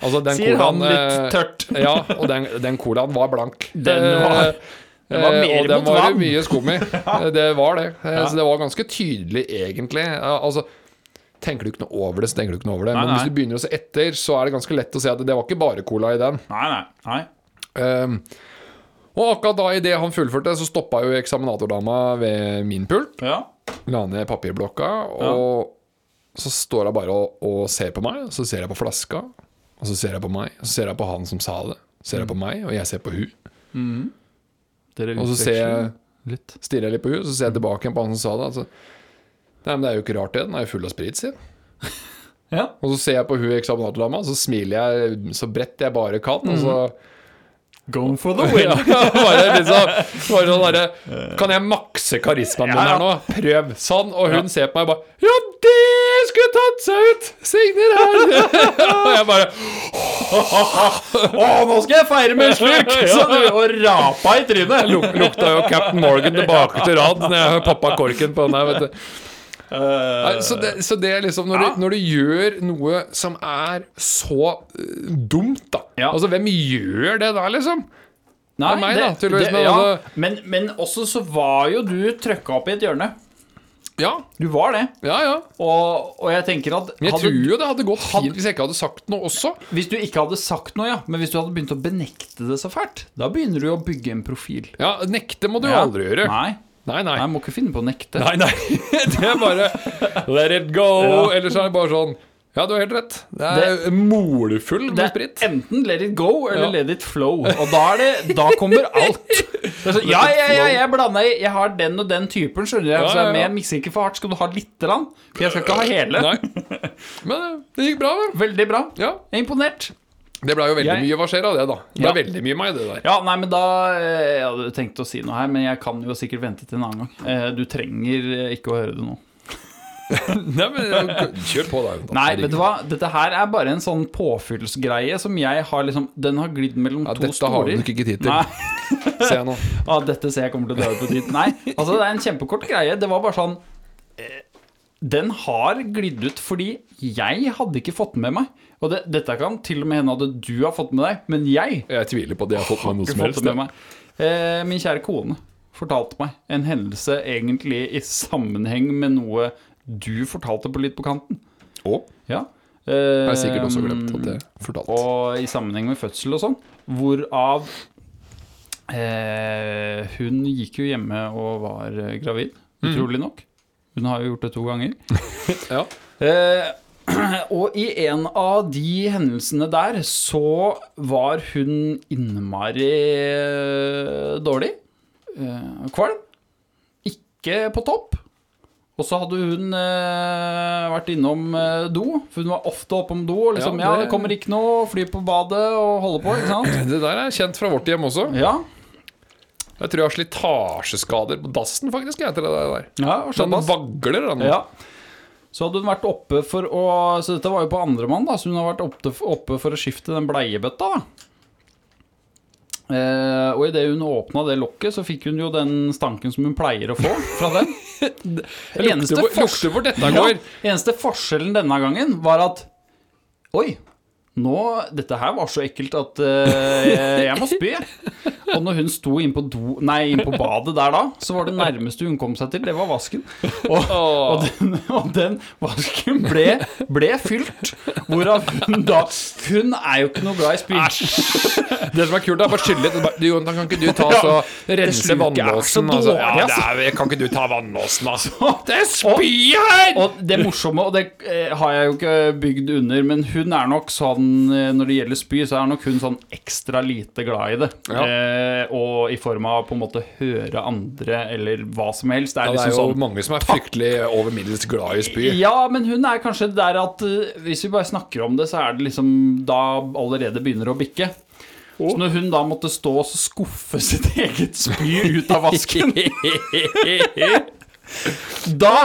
Speaker 1: Altså, den
Speaker 2: Sier han
Speaker 1: colaen, eh,
Speaker 2: litt tørt.
Speaker 1: Ja, og den, den colaen var blank.
Speaker 2: Den var- den var
Speaker 1: Eh,
Speaker 2: mer
Speaker 1: og den
Speaker 2: mot
Speaker 1: var
Speaker 2: vann.
Speaker 1: det mye skum i. Eh, Det var det. Eh, Så det var ganske tydelig, egentlig. Eh, Altså Tenker du ikke noe over det, så tenker du ikke noe over det.
Speaker 2: Nei,
Speaker 1: Men
Speaker 2: nei.
Speaker 1: hvis du begynner å se etter, så er det ganske lett å se at det var ikke bare cola i den.
Speaker 2: Nei, nei. nei.
Speaker 1: Um, og akkurat da idet han fullførte, så stoppa jo eksaminatordama ved min pult.
Speaker 2: Ja.
Speaker 1: La ned papirblokka, og så står hun bare og, og ser på meg. Så ser jeg på flaska, og så ser jeg på meg, og så ser jeg på han som sa det. Ser jeg på meg, og jeg ser på hun.
Speaker 2: Dere
Speaker 1: Og så ser jeg,
Speaker 2: utveksler litt.
Speaker 1: stirrer jeg litt på hun, så ser jeg tilbake igjen på han som sa det. Altså, Nei, men det er jo ikke rart det, den er jo full av sprit, sier han.
Speaker 2: Ja.
Speaker 1: Og så ser jeg på hun eksaminatordama, så smiler jeg så bredt jeg bare kan, og så
Speaker 2: Going for the
Speaker 1: Ja, bare liksom bare sånn derre Kan jeg makse karismaen min
Speaker 2: Ja, ja.
Speaker 1: her nå? Prøv. Sånn. Og hun ser på meg og bare Ja, det skulle tatt seg ut! Signer her! og jeg bare
Speaker 2: Å, nå skal jeg feire med en slurk! Så du og rapa i trynet.
Speaker 1: luk, Lukta jo Captain Morgan tilbake til rad når jeg poppa korken på den her, vet du.
Speaker 2: Eh,
Speaker 1: Nei, Så det, så det er liksom når
Speaker 2: Ja.
Speaker 1: du, når du gjør noe som er så eh, dumt, da
Speaker 2: Ja.
Speaker 1: Altså, hvem gjør det der, liksom?
Speaker 2: Nei,
Speaker 1: av meg, da, tydeligvis, men
Speaker 2: ja.
Speaker 1: altså-
Speaker 2: men, men også så var jo du trøkka opp i et hjørne.
Speaker 1: Ja,
Speaker 2: Du var det.
Speaker 1: ja, ja.
Speaker 2: Og, og jeg tenker at
Speaker 1: Men jeg
Speaker 2: hadde,
Speaker 1: tror jo det hadde gått fint hvis jeg ikke hadde sagt noe også.
Speaker 2: Hvis du ikke hadde sagt noe, ja, men hvis du hadde begynt å benekte det så fælt, da begynner du jo å bygge en profil.
Speaker 1: Ja, nekte må du jo
Speaker 2: Ja.
Speaker 1: aldri gjøre.
Speaker 2: Nei,
Speaker 1: Nei, nei.
Speaker 2: nei, jeg må ikke finne på å nekte.
Speaker 1: Nei, nei. Det er bare let it go.
Speaker 2: Ja.
Speaker 1: Eller så er det bare sånn Ja, du har helt rett. Det er molefull
Speaker 2: Det
Speaker 1: med
Speaker 2: er
Speaker 1: sprit.
Speaker 2: enten let it go
Speaker 1: Ja.
Speaker 2: eller let it flow. Og da, er det, da kommer alt. Det er sånn, ja, ja, ja, jeg blanda i. Jeg har den og den typen, skjønner jeg.
Speaker 1: Ja,
Speaker 2: Så
Speaker 1: ja, ja.
Speaker 2: jeg, jeg mikser ikke for hardt. Skal du ha lite grann? For jeg skal ikke ha hele.
Speaker 1: Nei. Men eh, det gikk bra, da.
Speaker 2: Veldig bra.
Speaker 1: Ja.
Speaker 2: Jeg er imponert.
Speaker 1: Det blei jo veldig
Speaker 2: Jeg-
Speaker 1: mye hva skjer av det, da. Det
Speaker 2: Ja.
Speaker 1: ble veldig mye meg, det der.
Speaker 2: Ja, nei, men da eh, Jeg hadde tenkt å si noe her, men jeg kan jo sikkert vente til en annen gang. Eh, Du trenger eh, ikke å høre det nå.
Speaker 1: Nei, men Kjør på, da.
Speaker 2: Nei, vet du hva? Dette her er bare en sånn påfyllsgreie som jeg har liksom Den har glidd mellom
Speaker 1: Ja,
Speaker 2: to
Speaker 1: dette har
Speaker 2: stoler.
Speaker 1: du nok ikke tid til,
Speaker 2: Nei,
Speaker 1: ser jeg nå.
Speaker 2: ah, dette ser jeg kommer til å dø på dit. Nei, altså det er en kjempekort greie. Det var bare sånn eh, Den har glidd ut fordi jeg hadde ikke fått med meg. Og det, dette kan til og med hende at du har fått med deg, men jeg
Speaker 1: Jeg tviler på at jeg har fått med noe
Speaker 2: ikke
Speaker 1: som
Speaker 2: fått
Speaker 1: helst.
Speaker 2: det med
Speaker 1: da.
Speaker 2: meg. Eh, min kjære kone fortalte meg en hendelse egentlig i sammenheng med noe du fortalte på litt på kanten.
Speaker 1: Og
Speaker 2: Ja.
Speaker 1: jeg
Speaker 2: Eh,
Speaker 1: har sikkert også glemt at det
Speaker 2: Mm.
Speaker 1: er fortalt.
Speaker 2: Og i sammenheng med fødsel og sånn, hvorav eh, hun gikk jo hjemme og var eh, gravid, utrolig nok. Hun har jo gjort det to ganger.
Speaker 1: Ja.
Speaker 2: Eh, og i en av de hendelsene der så var hun innmari eh, dårlig. Eh, kvalm. ikke på topp. Og så hadde hun eh, vært innom eh, do, for hun var ofte oppe om do. Og liksom,
Speaker 1: Ja,
Speaker 2: ja,
Speaker 1: det-
Speaker 2: det kommer ikke noe, fly på badet og holde på, ikke sant?
Speaker 1: Det der er kjent fra vårt hjem også.
Speaker 2: Ja,
Speaker 1: Jeg tror jeg har slitasjeskader på dassen, faktisk. Jeg, etter det der.
Speaker 2: ja og
Speaker 1: Den
Speaker 2: såpass.
Speaker 1: vagler, den.
Speaker 2: Ja. Så hadde hun vært oppe for å Så dette var jo på andremann, da. Så hun har vært oppe, oppe for å skifte den bleiebøtta, da. Eh, og idet hun åpna det lokket, så fikk hun jo den stanken som hun pleier å få fra den.
Speaker 1: Jeg
Speaker 2: Eneste
Speaker 1: lukter, hvor,
Speaker 2: forskjell-
Speaker 1: lukter hvor dette
Speaker 2: Ja,
Speaker 1: går.
Speaker 2: eneste forskjellen denne gangen var at Oi, nå, dette her var så ekkelt at eh, jeg, jeg må spy. Og når hun sto inn på, do, nei, inn på badet der da, så var det nærmeste hun kom seg til, det var vasken. Og, og, den, og den vasken ble, ble fylt, hvorav hun da Hun er jo ikke noe glad i spy.
Speaker 1: Det som er kult, er bare skylle litt. Bare, Du, Jonathan, kan ikke du ta
Speaker 2: Ja,
Speaker 1: så
Speaker 2: sluket er
Speaker 1: rense vannlåsen?
Speaker 2: så
Speaker 1: Altså.
Speaker 2: dårlig,
Speaker 1: Ja, det
Speaker 2: altså.
Speaker 1: er, kan ikke du ta vannlåsen, altså? Det er spy her!
Speaker 2: Og det morsomme, og det eh, har jeg jo ikke bygd under, men hun er nok sånn eh, Når det gjelder spy, så er nok hun sånn ekstra lite glad i det.
Speaker 1: Ja.
Speaker 2: Eh, og i form av på en måte høre andre eller hva som helst. Det
Speaker 1: Ja,
Speaker 2: er
Speaker 1: det er
Speaker 2: liksom
Speaker 1: jo
Speaker 2: sånn
Speaker 1: mange som er fryktelig over middels glad i spy.
Speaker 2: ja, men hun er kanskje der at eh, hvis vi bare snakker om det, så er det liksom da allerede begynner å bikke. Så når hun da måtte stå og skuffe sitt eget spy ut av vasken Da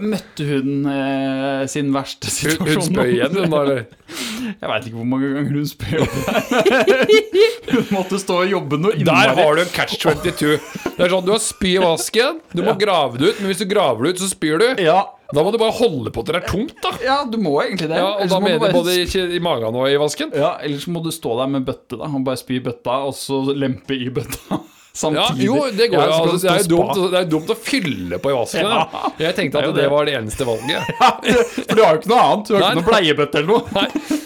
Speaker 2: møtte hun eh, sin verste
Speaker 1: Hun,
Speaker 2: situasjon.
Speaker 1: hun spøy igjen, hun, da, eller?
Speaker 2: Jeg veit ikke hvor mange ganger hun spør om det. Hun måtte stå og jobbe noe
Speaker 1: Der
Speaker 2: innmari.
Speaker 1: har du en catch 22. Det er sånn, Du har spy i vasken, du må grave det ut, men hvis du graver det ut, så spyr du.
Speaker 2: Ja,
Speaker 1: Da må du bare holde på til det er tomt, da.
Speaker 2: ja, du må egentlig det.
Speaker 1: Ja, og
Speaker 2: Ellers
Speaker 1: da
Speaker 2: må du
Speaker 1: mener jeg
Speaker 2: bare-
Speaker 1: både i, i magen og i vasken.
Speaker 2: ja, Ellers må du stå der med bøtte da og bare spy i bøtta, og så lempe i bøtta
Speaker 1: Ja,
Speaker 2: samtidig.
Speaker 1: jo, det går
Speaker 2: Ja,
Speaker 1: jo.
Speaker 2: så kan
Speaker 1: Altså,
Speaker 2: du
Speaker 1: det, er jo
Speaker 2: stå
Speaker 1: dumt,
Speaker 2: spa.
Speaker 1: det er jo dumt å fylle på i vasken.
Speaker 2: Ja.
Speaker 1: da. Jeg tenkte
Speaker 2: Det er jo
Speaker 1: at det
Speaker 2: det.
Speaker 1: var det eneste valget.
Speaker 2: For du har jo ikke noe annet. Du har ikke
Speaker 1: Nei.
Speaker 2: noe bleiebøtte eller noe.
Speaker 1: Nei, Nei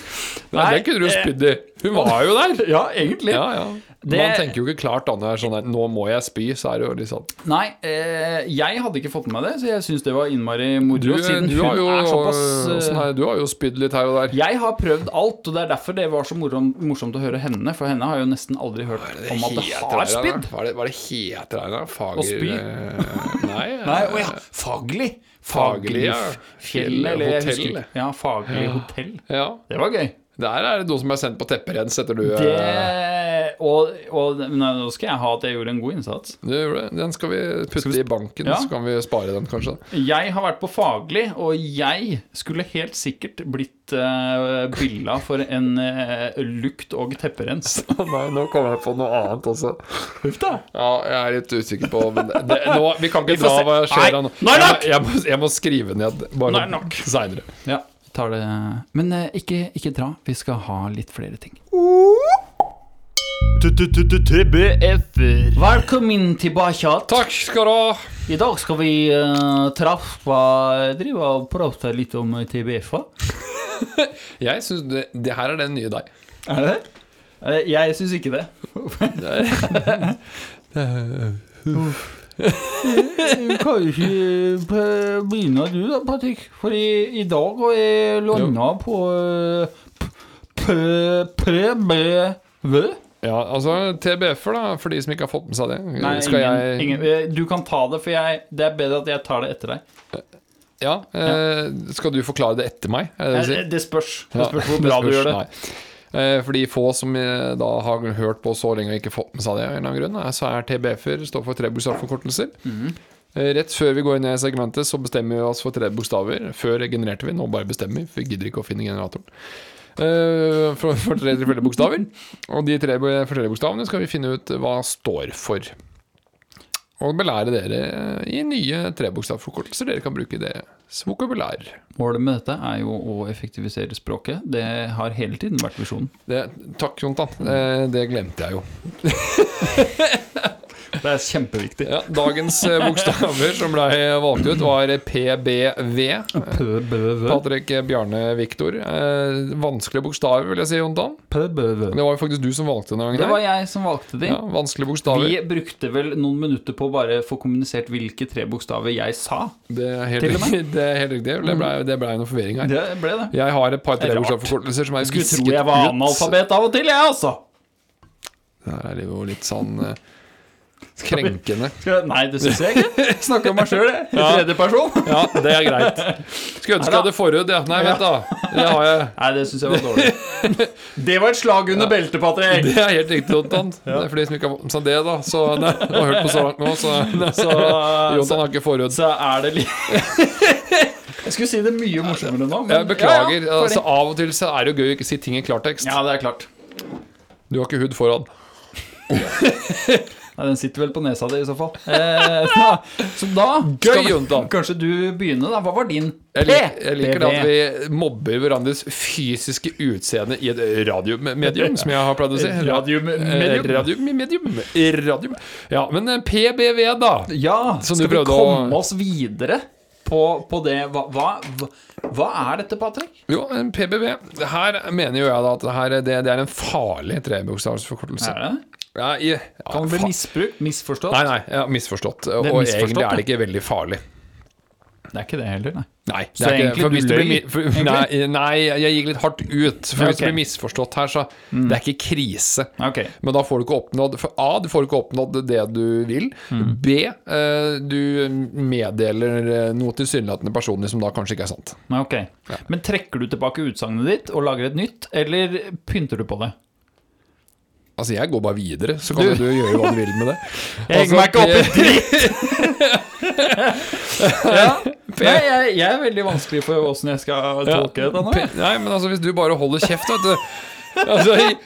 Speaker 2: Nei,
Speaker 1: det kunne du jo
Speaker 2: eh.
Speaker 1: spydd i. Hun var jo der.
Speaker 2: Ja, egentlig.
Speaker 1: Ja, ja. Man
Speaker 2: Det-
Speaker 1: tenker jo ikke klart da når det er sånn her Nå må jeg spy, så er det jo litt sånn
Speaker 2: Nei, eh, jeg hadde ikke fått med meg det, så jeg syns det var innmari moro.
Speaker 1: Du,
Speaker 2: siden
Speaker 1: du,
Speaker 2: hun
Speaker 1: har, jo,
Speaker 2: er såpass eh,
Speaker 1: sånn her, du har jo spydd litt her og der.
Speaker 2: Jeg har prøvd alt, og det er derfor det var så morom, morsomt å høre henne. For henne har jeg jo nesten aldri hørt om at det
Speaker 1: Heter
Speaker 2: har
Speaker 1: det her, da?
Speaker 2: spydd.
Speaker 1: Hva er det, hva er det heter det her, da? Fager...
Speaker 2: Å spy?
Speaker 1: eh, Nei.
Speaker 2: Nei, å ja. Faglig.
Speaker 1: Faglig, ja.
Speaker 2: Fjell, eller jeg
Speaker 1: Hotell.
Speaker 2: husker ikke. Ja, Faglig hotell.
Speaker 1: ja.
Speaker 2: Det var gøy.
Speaker 1: Der er det noen som er sendt på tepperens etter du eh,
Speaker 2: Det, og og nei, nå skal jeg ha at jeg gjorde en god innsats.
Speaker 1: Du gjorde det. Den skal vi putte i banken,
Speaker 2: Ja.
Speaker 1: så kan vi spare den, kanskje.
Speaker 2: Jeg har vært på Faglig, og jeg skulle helt sikkert blitt uh, billa for en eh, lukt- og tepperens.
Speaker 1: Nei, nå kommer jeg på noe annet også.
Speaker 2: Huff da.
Speaker 1: Ja, jeg er litt usikker på men det, det, nå, Vi kan ikke
Speaker 2: Vi får
Speaker 1: dra
Speaker 2: se.
Speaker 1: hva
Speaker 2: Nei,
Speaker 1: skjer her nå.
Speaker 2: nå er det nok!
Speaker 1: Jeg, jeg, må, jeg må skrive ned
Speaker 2: Nå
Speaker 1: bare
Speaker 2: er det nok.
Speaker 1: seinere.
Speaker 2: Ja, tar det Men eh, ikke, ikke dra, vi skal ha litt flere ting.
Speaker 3: TBF-er.
Speaker 2: Velkommen tilbake.
Speaker 1: Takk skal du ha.
Speaker 3: I dag skal vi
Speaker 2: eh,
Speaker 3: uh, treffe Drive og prate litt om TBF-er.
Speaker 1: Jeg syns det, det her er den nye deg.
Speaker 2: Er det Eh, det?
Speaker 3: Jeg syns ikke det.
Speaker 2: Eh,
Speaker 3: Du kan jo ikke eh, begynne du da, Patrick. Fordi i dag har jeg landa på eh, p- p- PBV.
Speaker 1: Ja, altså TBF-er, da, for de som ikke har fått med seg det.
Speaker 2: Nei,
Speaker 1: skal
Speaker 2: ingen,
Speaker 1: jeg
Speaker 2: ingen, eh, du kan ta det, for jeg, det er bedre at jeg tar det etter deg.
Speaker 1: Ja, eh, Skal du forklare det etter meg? Er det det du
Speaker 2: Eh,
Speaker 1: sier?
Speaker 2: Det spørs, det spørs
Speaker 1: Ja,
Speaker 2: hvor bra du
Speaker 1: spørs,
Speaker 2: gjør det.
Speaker 1: nei. Eh, For de få som eh, da har hørt på så lenge og ikke fått med seg det, av en eller annen grunn, er- så er TBF-er står for tre bokstavforkortelser.
Speaker 2: Mhm.
Speaker 1: Eh, Rett før vi går ned i segmentet, så bestemmer vi oss for tre bokstaver. Før genererte vi, nå bare bestemmer vi, for vi gidder ikke å finne generatoren. Eh, For, for tre forskjellige bokstaver. Og de tre bo- forskjellige bokstavene skal vi finne ut hva står for. Og belære dere i nye trebokstavforkortelser dere kan bruke i deres vokabulær.
Speaker 2: Målet med dette er jo å effektivisere språket. Det har hele tiden vært visjonen.
Speaker 1: Det, takk, Jontan. Eh, Det glemte jeg jo.
Speaker 2: Det er kjempeviktig.
Speaker 1: Ja, dagens eh, bokstaver som ble valgt ut, var PBV.
Speaker 2: PBV.
Speaker 1: Patrick eh, Bjarne Viktor. Eh, vanskelige bokstaver, vil jeg si, Jontan.
Speaker 2: PBV.
Speaker 1: Det var jo faktisk du som valgte denne
Speaker 2: Det
Speaker 1: gangen.
Speaker 2: var
Speaker 1: her.
Speaker 2: jeg som valgte de.
Speaker 1: Ja, vanskelige bokstaver.
Speaker 2: Vi brukte vel noen minutter på å bare få kommunisert hvilke tre bokstaver jeg sa.
Speaker 1: Det er helt
Speaker 2: Til og med.
Speaker 1: riktig. Det er helt riktig. Det ble, det ble noe forvirring her.
Speaker 2: Det ble det.
Speaker 1: Jeg har et par
Speaker 2: Det er rart.
Speaker 1: trebokstavforkortelser som er
Speaker 2: Skulle tro jeg var analfabet av og til, jeg, altså.
Speaker 1: Der er det jo litt sånn eh, Krenkende.
Speaker 2: Skal jeg- Nei, det syns jeg ikke. Jeg Snakker om meg sjøl, jeg. I tredje person.
Speaker 1: Ja, det er greit. Skulle ønske jeg hadde forhud, ja. Nei, vent, da. Det har jeg.
Speaker 2: Nei, det syns jeg var dårlig. Det var et slag under beltet, Patrick.
Speaker 1: Det er helt riktig, Jontan. Det er for de som ikke har fått med seg det, da. Så nei, har hørt på så langt nå, så
Speaker 2: Så, så,
Speaker 1: Jontan har ikke forhud.
Speaker 2: så er det litt Jeg skulle si det mye morsommere nå. men-
Speaker 1: Jeg beklager.
Speaker 2: Ja, ja,
Speaker 1: altså,
Speaker 2: fordi-
Speaker 1: av og til så er det jo gøy å ikke si ting i klartekst.
Speaker 2: ja, det er klart.
Speaker 1: Du har ikke hud foran.
Speaker 2: Nei, Den sitter vel på nesa di i så fall. Eh, da, så da
Speaker 1: Gøy,
Speaker 2: skal-
Speaker 1: Jontan.
Speaker 2: Kanskje du begynner, da. Hva var din
Speaker 1: Jeg, lik, jeg liker det at
Speaker 2: PV?
Speaker 1: vi mobber hverandres fysiske utseende i et radiomedium, som jeg har pleid å si.
Speaker 2: Radiomedium.
Speaker 1: Eh, Radiomedium. Radium. Ja, men eh, PBV, da.
Speaker 2: Ja,
Speaker 1: Som
Speaker 2: skal
Speaker 1: du
Speaker 2: vi
Speaker 1: prøvde
Speaker 2: komme
Speaker 1: å-
Speaker 2: oss videre på, på det? Hva, hva, hva- hva er dette, Patrick?
Speaker 1: Jo, en PBV. Her mener jo jeg da at det, her, det, det er en farlig trebokstavsforkortelse.
Speaker 2: Er det?
Speaker 1: Ja, i- ja,
Speaker 2: Eh, Kan det
Speaker 1: fa-
Speaker 2: bli misbrukt? Misforstått?
Speaker 1: Nei, nei, ja, misforstått. Og
Speaker 2: misforstått,
Speaker 1: egentlig er det
Speaker 2: ja.
Speaker 1: ikke veldig farlig.
Speaker 2: Det er ikke det heller, nei.
Speaker 1: Nei, det
Speaker 2: Så
Speaker 1: er ikke,
Speaker 2: egentlig
Speaker 1: for
Speaker 2: du
Speaker 1: hvis det blir, mi-
Speaker 2: løy,
Speaker 1: for, nei, nei, jeg gikk litt hardt ut. For
Speaker 2: Ja,
Speaker 1: hvis det
Speaker 2: ok. Mm.
Speaker 1: blir misforstått her, så Det er ikke krise.
Speaker 2: Ok.
Speaker 1: Men da får du ikke oppnådd For A, du får ikke oppnådd det du vil.
Speaker 2: Mm.
Speaker 1: B, eh, du meddeler eh, noe tilsynelatende personlig som da kanskje ikke er sant.
Speaker 2: Nei, ok. Men trekker du tilbake utsagnet ditt og lager et nytt, eller pynter du på det?
Speaker 1: Altså, jeg går bare videre, så kan jo du gjøre hva du vil med det. Altså,
Speaker 2: Jeg henger meg ikke opp i dritt! ja. Nei, jeg, jeg er veldig vanskelig for åssen jeg skal tolke det nå. jeg.
Speaker 1: P- Nei, men altså, hvis du bare holder kjeft, vet du Altså, i-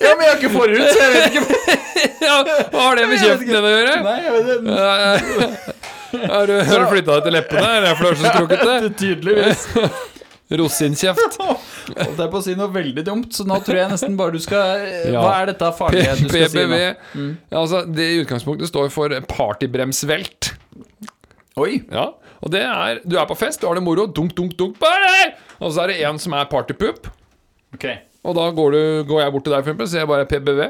Speaker 2: Ja, men jeg er ikke forut, så jeg vet ikke
Speaker 1: ja, hva har det med kjeften din å gjøre?
Speaker 2: Nei, jeg vet det.
Speaker 1: Eh, Har du, har du flytta deg til leppene? Er det derfor du er så skrukket?
Speaker 2: Tydeligvis.
Speaker 1: Rosinkjeft.
Speaker 2: Holdt jeg på å si noe veldig dumt, så nå tror jeg nesten bare du skal eh,
Speaker 1: Ja.
Speaker 2: Hva er dette farlige du skal si Mm.
Speaker 1: PBV.
Speaker 2: nå?
Speaker 1: Ja, altså, det i utgangspunktet står for partybremsvelt.
Speaker 2: Oi.
Speaker 1: Ja, og det er Du er på fest, du har det moro, dunk, dunk, dunk bare! Og så er det en som er partypup,
Speaker 2: Ok.
Speaker 1: og da går, du, går jeg bort til deg, for eksempel, så ser jeg bare PBV.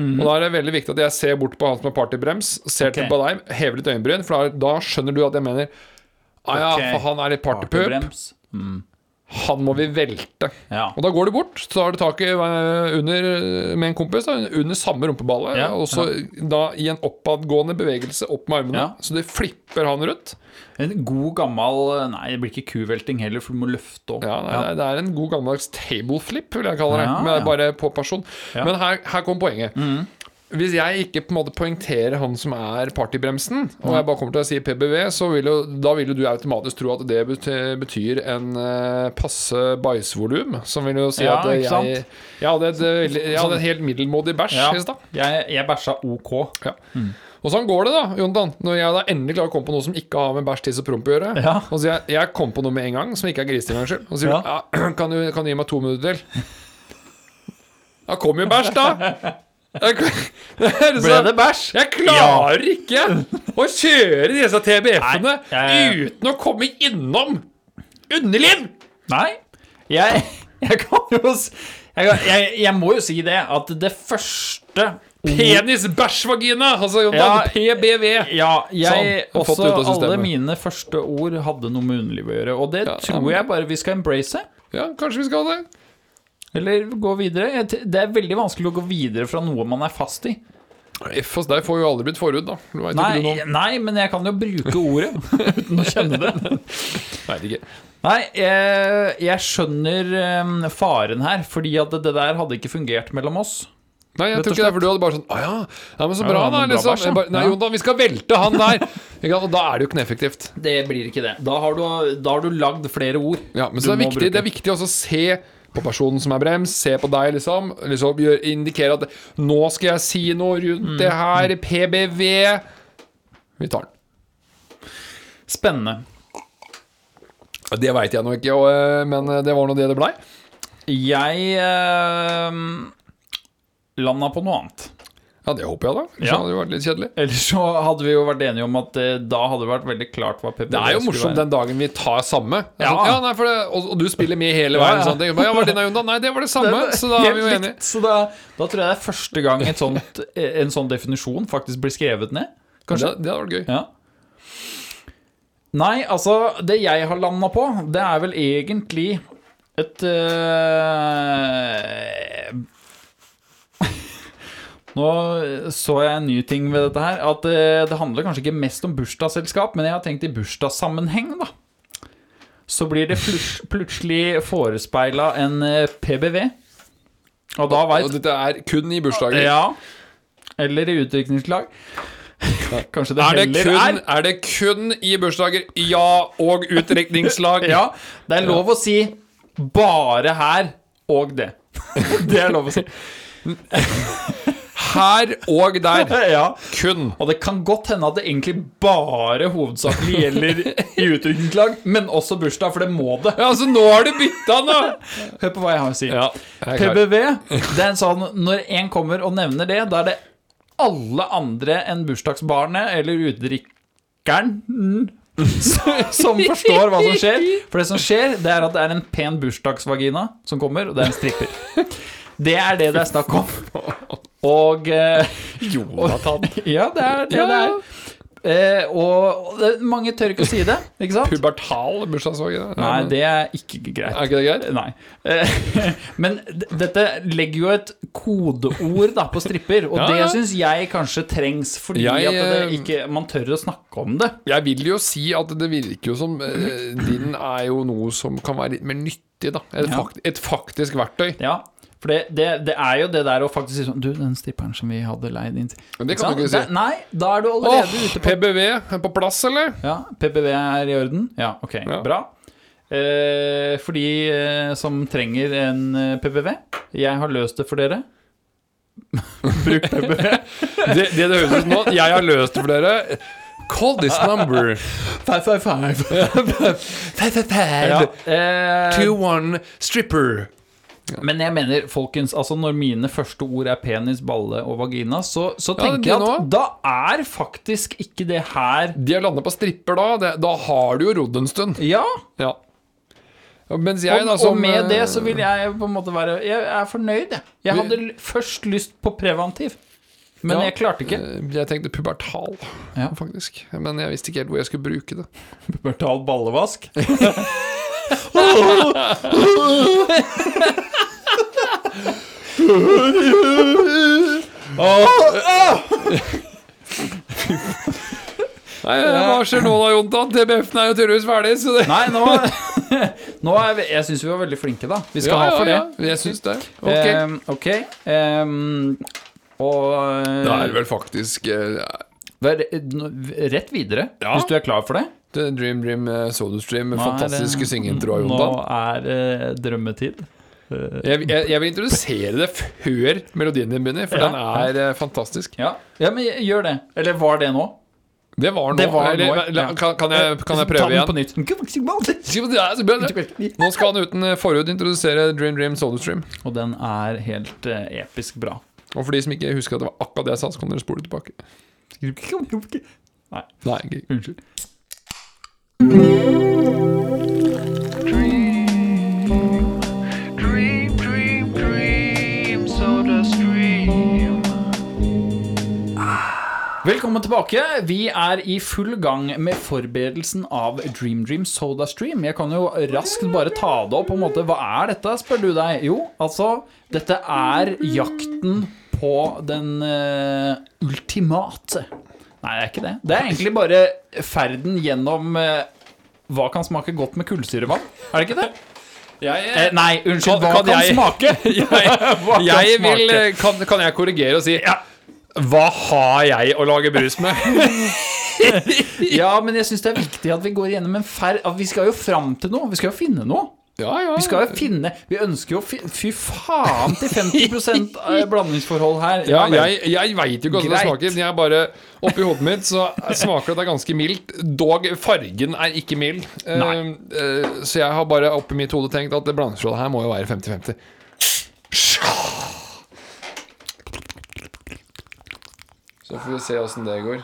Speaker 1: Og da er det veldig viktig at jeg ser bort på han som er partybrems, ser
Speaker 2: Mhm. Ok.
Speaker 1: til på deg, hever litt øyenbryn, for da, da skjønner du at jeg mener Ah, ja,
Speaker 2: Ok.
Speaker 1: for han er litt partypup.
Speaker 2: Partybrems.
Speaker 1: Han må vi velte.
Speaker 2: Ja.
Speaker 1: Og da går du bort, så tar du tak i eh, under eh, med en kompis da, under samme rumpeballe,
Speaker 2: Ja,
Speaker 1: og så da i en oppadgående bevegelse opp med armene,
Speaker 2: Ja.
Speaker 1: så du flipper han rundt.
Speaker 2: En god gammel eh, Nei, det blir ikke kuvelting heller, for du må løfte opp.
Speaker 1: Ja, nei, det er- Det er en god gammeldags table flip, vil jeg kalle det.
Speaker 2: Ja,
Speaker 1: men
Speaker 2: ja.
Speaker 1: Bare på person.
Speaker 2: Ja. Mm.
Speaker 1: Men her, her kom poenget. Hvis jeg ikke på en måte poengterer han som er partybremsen, og jeg bare kommer til å si PBV, så vil jo, da vil jo du automatisk tro at det bety- betyr en eh, passe bæsjvolum. Som vil jo si
Speaker 2: Ja,
Speaker 1: at eh,
Speaker 2: ikke sant? Sånn.
Speaker 1: jeg, jeg, hadde et, eh, veldig- jeg hadde en helt middelmådig bæsj
Speaker 2: Ja.
Speaker 1: i stad.
Speaker 2: Jeg, jeg bæsja OK.
Speaker 1: Ja. Og sånn går det, da, Jontan. Når jeg da endelig klarer å komme på noe som ikke har med bæsj, tiss og promp å gjøre.
Speaker 2: Ja.
Speaker 1: Og så jeg, jeg kom på noe med en gang som ikke er grisetime, unnskyld. Og så sier du ja.
Speaker 2: Ja.
Speaker 1: kan, du, kan du gi meg to minutter til? Da kom jo bæsj, da! Jeg, det er så-
Speaker 2: Ble det bæsj?
Speaker 1: jeg klarer ikke å kjøre disse TBF-ene
Speaker 2: Nei, jeg-
Speaker 1: uten å komme innom underliv!
Speaker 2: Nei. Jeg, jeg kan jo s- jeg, kan, jeg, jeg må jo si det, at det første ord-
Speaker 1: Penis, bæsj, vagina! Altså,
Speaker 2: Ja.
Speaker 1: Jontan, PBV.
Speaker 2: Ja, jeg
Speaker 1: Sånn, fått
Speaker 2: også
Speaker 1: det ut av systemet.
Speaker 2: Alle mine første ord hadde noe med underlivet å gjøre, og det
Speaker 1: Ja, ja,
Speaker 2: tror
Speaker 1: men-
Speaker 2: jeg bare vi skal embrace.
Speaker 1: Ja, kanskje vi skal ha det?
Speaker 2: Eller gå videre. Jeg t- Det er veldig vanskelig å gå videre fra noe man er fast i.
Speaker 1: F hos deg får jo aldri blitt forhud, da. Du vet ikke
Speaker 2: Nei,
Speaker 1: noe om-
Speaker 2: nei men jeg kan jo bruke ordet uten å kjenne det.
Speaker 1: Vet ikke.
Speaker 2: Nei, jeg, jeg skjønner eh, faren her, fordi at det der hadde ikke fungert mellom oss.
Speaker 1: Nei, jeg
Speaker 2: Rett
Speaker 1: tror
Speaker 2: og
Speaker 1: ikke det, for du hadde bare sånn Å ja, ja men så bra,
Speaker 2: Ja,
Speaker 1: da.
Speaker 2: men bra
Speaker 1: Liksom.
Speaker 2: bæsj, ja.
Speaker 1: Jeg bare, nei,
Speaker 2: Ja.
Speaker 1: Jonathan, vi skal velte han der. Ikke sant? Og da er det jo kneffektivt.
Speaker 2: Det blir ikke det. Da har du, da har du lagd flere ord.
Speaker 1: Ja, men
Speaker 2: Du
Speaker 1: så det er
Speaker 2: må
Speaker 1: viktig,
Speaker 2: bruke.
Speaker 1: det er viktig også å se på personen som er brems, se på deg, liksom. liksom gjør, indikere at 'Nå skal jeg si noe
Speaker 2: Mm,
Speaker 1: rundt det her. PBV.' Vi tar den.
Speaker 2: Spennende.
Speaker 1: Ja, Det veit jeg nå ikke, og, eh, men eh, det var nå det det blei.
Speaker 2: Jeg eh, landa på noe annet.
Speaker 1: Ja, det håper jeg, da. Ellers
Speaker 2: Ja.
Speaker 1: hadde det jo vært litt kjedelig.
Speaker 2: Ellers så hadde vi jo vært enige om at eh, da hadde det vært veldig klart hva PPV
Speaker 1: Det er jo morsomt den dagen vi tar samme. Det er
Speaker 2: Ja.
Speaker 1: Sånn, ja, nei, for det, og, og du spiller med hele
Speaker 2: Ja,
Speaker 1: veien.
Speaker 2: ja.
Speaker 1: Sånn, ting. ja, var det din, Jonathan? Nei, det var det samme, så da er vi jo enige.
Speaker 2: Så da, da tror jeg det er første gang et sånt, en sånn definisjon faktisk blir skrevet ned.
Speaker 1: Kanskje. Det, det hadde vært gøy.
Speaker 2: Ja. Nei, altså, det jeg har landa på, det er vel egentlig eh, et øh, Nå så jeg en ny ting ved dette her. At eh, det handler kanskje ikke mest om bursdagsselskap, men jeg har tenkt i bursdagssammenheng, da. Så blir det plut- plutselig forespeila en eh, PBV. Og da
Speaker 1: Og
Speaker 2: veit
Speaker 1: dette er kun i bursdager.
Speaker 2: Ja. Eller i utdrikningslag. Kanskje det,
Speaker 1: Er det,
Speaker 2: heller
Speaker 1: kun,
Speaker 2: er.
Speaker 1: er det kun i bursdager? Ja, og utdrikningslag.
Speaker 2: Ja, det er lov å si 'bare her' og det. Det er lov å si.
Speaker 1: Her og der.
Speaker 2: Ja.
Speaker 1: Kun.
Speaker 2: Og det kan godt hende at det egentlig bare hovedsakelig gjelder i utdrikningslag, men også bursdag, for det må det.
Speaker 1: Ja, altså, nå har du bytta, nå!
Speaker 2: Hør på hva jeg har å si.
Speaker 1: Ja, jeg er klar.
Speaker 2: PBV, det er en sånn Når en kommer og nevner det, da er det alle andre enn bursdagsbarnet eller utdrikkeren som som forstår hva som skjer. For det som skjer, det er at det er en pen bursdagsvagina som kommer, og det er en stripper. Det er det det er snakk om. Og eh,
Speaker 1: Jonathan.
Speaker 2: Ja, det er det det er. Eh, og det, mange tør ikke å si det, ikke sant?
Speaker 1: Pubertal bursdagsvogn?
Speaker 2: Nei, det er ikke greit.
Speaker 1: Er ikke det greit?
Speaker 2: Nei. Eh, Men d- dette legger jo et kodeord da, på stripper, og
Speaker 1: Ja, ja.
Speaker 2: det syns jeg kanskje trengs, fordi
Speaker 1: Jeg,
Speaker 2: at det
Speaker 1: eh,
Speaker 2: ikke, man tør å snakke om det.
Speaker 1: Jeg vil jo si at det virker jo som eh, din er jo noe som kan være litt mer nyttig, da. Et,
Speaker 2: Ja.
Speaker 1: fakt, et faktisk verktøy.
Speaker 2: Ja, for det, det, det er jo det der å faktisk si sånn Du, den stripperen som vi hadde leid inn til
Speaker 1: Men det kan du ikke si.
Speaker 2: Da- Nei, da er du
Speaker 1: Åh,
Speaker 2: allerede ute på
Speaker 1: PBV er på plass, eller?
Speaker 2: Ja, PPV er i orden? Ja, ok,
Speaker 1: Ja.
Speaker 2: bra. Eh, for de eh, som trenger en eh, PPV, jeg har løst det for dere. Bruk PPV.
Speaker 1: Det det, det høres ut som nå, jeg har løst det for dere. Call this number.
Speaker 2: Five, five, five. Ja. Eh,
Speaker 1: 2-1 stripper.
Speaker 2: men jeg mener, folkens, altså når mine første ord er penis, balle og vagina, så, så
Speaker 1: Ja,
Speaker 2: tenker
Speaker 1: det
Speaker 2: jeg at
Speaker 1: nå.
Speaker 2: da er faktisk ikke det her
Speaker 1: De har landet på stripper da. Det, da har du jo rodd en stund.
Speaker 2: Ja,
Speaker 1: Ja. Og Mens jeg,
Speaker 2: og,
Speaker 1: da,
Speaker 2: og
Speaker 1: som
Speaker 2: med det så
Speaker 1: eh,
Speaker 2: vil jeg på en måte være Jeg er fornøyd, jeg. Jeg
Speaker 1: Vi-
Speaker 2: hadde l- først lyst på preventiv, men
Speaker 1: Ja.
Speaker 2: jeg klarte ikke.
Speaker 1: eh, Jeg tenkte pubertal,
Speaker 2: Ja.
Speaker 1: faktisk. Men jeg visste ikke helt hvor jeg skulle bruke det.
Speaker 2: Pubertal ballevask.
Speaker 1: Nei, Hva skjer nå da, Jontan? TBF-en er jo tydeligvis ferdig. Så det...
Speaker 2: Nei, nå, nå er vi, Jeg syns vi var veldig flinke, da. Vi skal
Speaker 1: Ja,
Speaker 2: ha for det.
Speaker 1: ja, ja. Jeg syns det. Ok.
Speaker 2: Ehm, ok. Ehm, og eh,
Speaker 1: da er det vel faktisk eh,
Speaker 2: Vær nå- rett videre,
Speaker 1: Ja.
Speaker 2: hvis du er klar for det.
Speaker 1: The Dream Dream eh, SodaStream.
Speaker 2: Nå er det-
Speaker 1: Fantastiske syngeintro av
Speaker 2: Nå
Speaker 1: Jontan.
Speaker 2: er eh, drømmetid.
Speaker 1: Jeg, jeg, jeg vil introdusere det før melodien din begynner, for
Speaker 2: Ja.
Speaker 1: den er eh, fantastisk.
Speaker 2: Ja. ja, men gjør det. Eller var det nå?
Speaker 1: Det var nå.
Speaker 2: Det var
Speaker 1: Eller,
Speaker 2: nå,
Speaker 1: la- la-
Speaker 2: ja. Eh,
Speaker 1: kan, kan, jeg, Eh, kan jeg prøve
Speaker 2: Ta
Speaker 1: igjen?
Speaker 2: den på nytt.
Speaker 1: Nå skal han uten eh, forhud introdusere Dream Dream SodaStream.
Speaker 2: Og den er helt eh, episk bra.
Speaker 1: Og for de som ikke husker at det var akkurat det jeg sa, så kan dere spole tilbake.
Speaker 2: Nei,
Speaker 1: Nei, ikke-
Speaker 2: unnskyld.
Speaker 4: Dream, dream, dream, soda stream.
Speaker 2: Velkommen tilbake. Vi er i full gang med forberedelsen av Dream Dream Soda Stream. Jeg kan jo raskt bare ta det opp på en måte. Hva er dette, spør du deg? Jo, altså, dette er jakten på den eh, ultimate. Nei, det er ikke det. Det er egentlig bare ferden gjennom eh, hva kan smake godt med kullsyrevann? Er det ikke det? Eh, nei,
Speaker 1: Kan-
Speaker 2: unnskyld. Hva
Speaker 1: kan
Speaker 2: kan,
Speaker 1: jeg-
Speaker 2: smake? Hva kan
Speaker 1: Jeg vil,
Speaker 2: smake?
Speaker 1: eh, kan, kan jeg korrigere og si Hva har jeg å lage brus med?
Speaker 2: Ja, men jeg syns det er viktig at vi går gjennom en ferd At vi skal jo fram til noe. Vi skal jo finne noe.
Speaker 1: ja, ja.
Speaker 2: Vi skal jo finne Vi ønsker jo fi, Fy faen til 50 av blandingsforhold her.
Speaker 1: ja,
Speaker 2: vel.
Speaker 1: jeg jeg veit jo ikke hvordan det
Speaker 2: Greit.
Speaker 1: smaker. Men jeg bare, oppi hodet mitt så smaker det ganske mildt. Dog fargen er ikke mild. Eh,
Speaker 2: Nei.
Speaker 1: eh, så jeg har bare oppi mitt hode tenkt at det blandingsrådet her må jo være 50-50. Så får vi se åssen det går.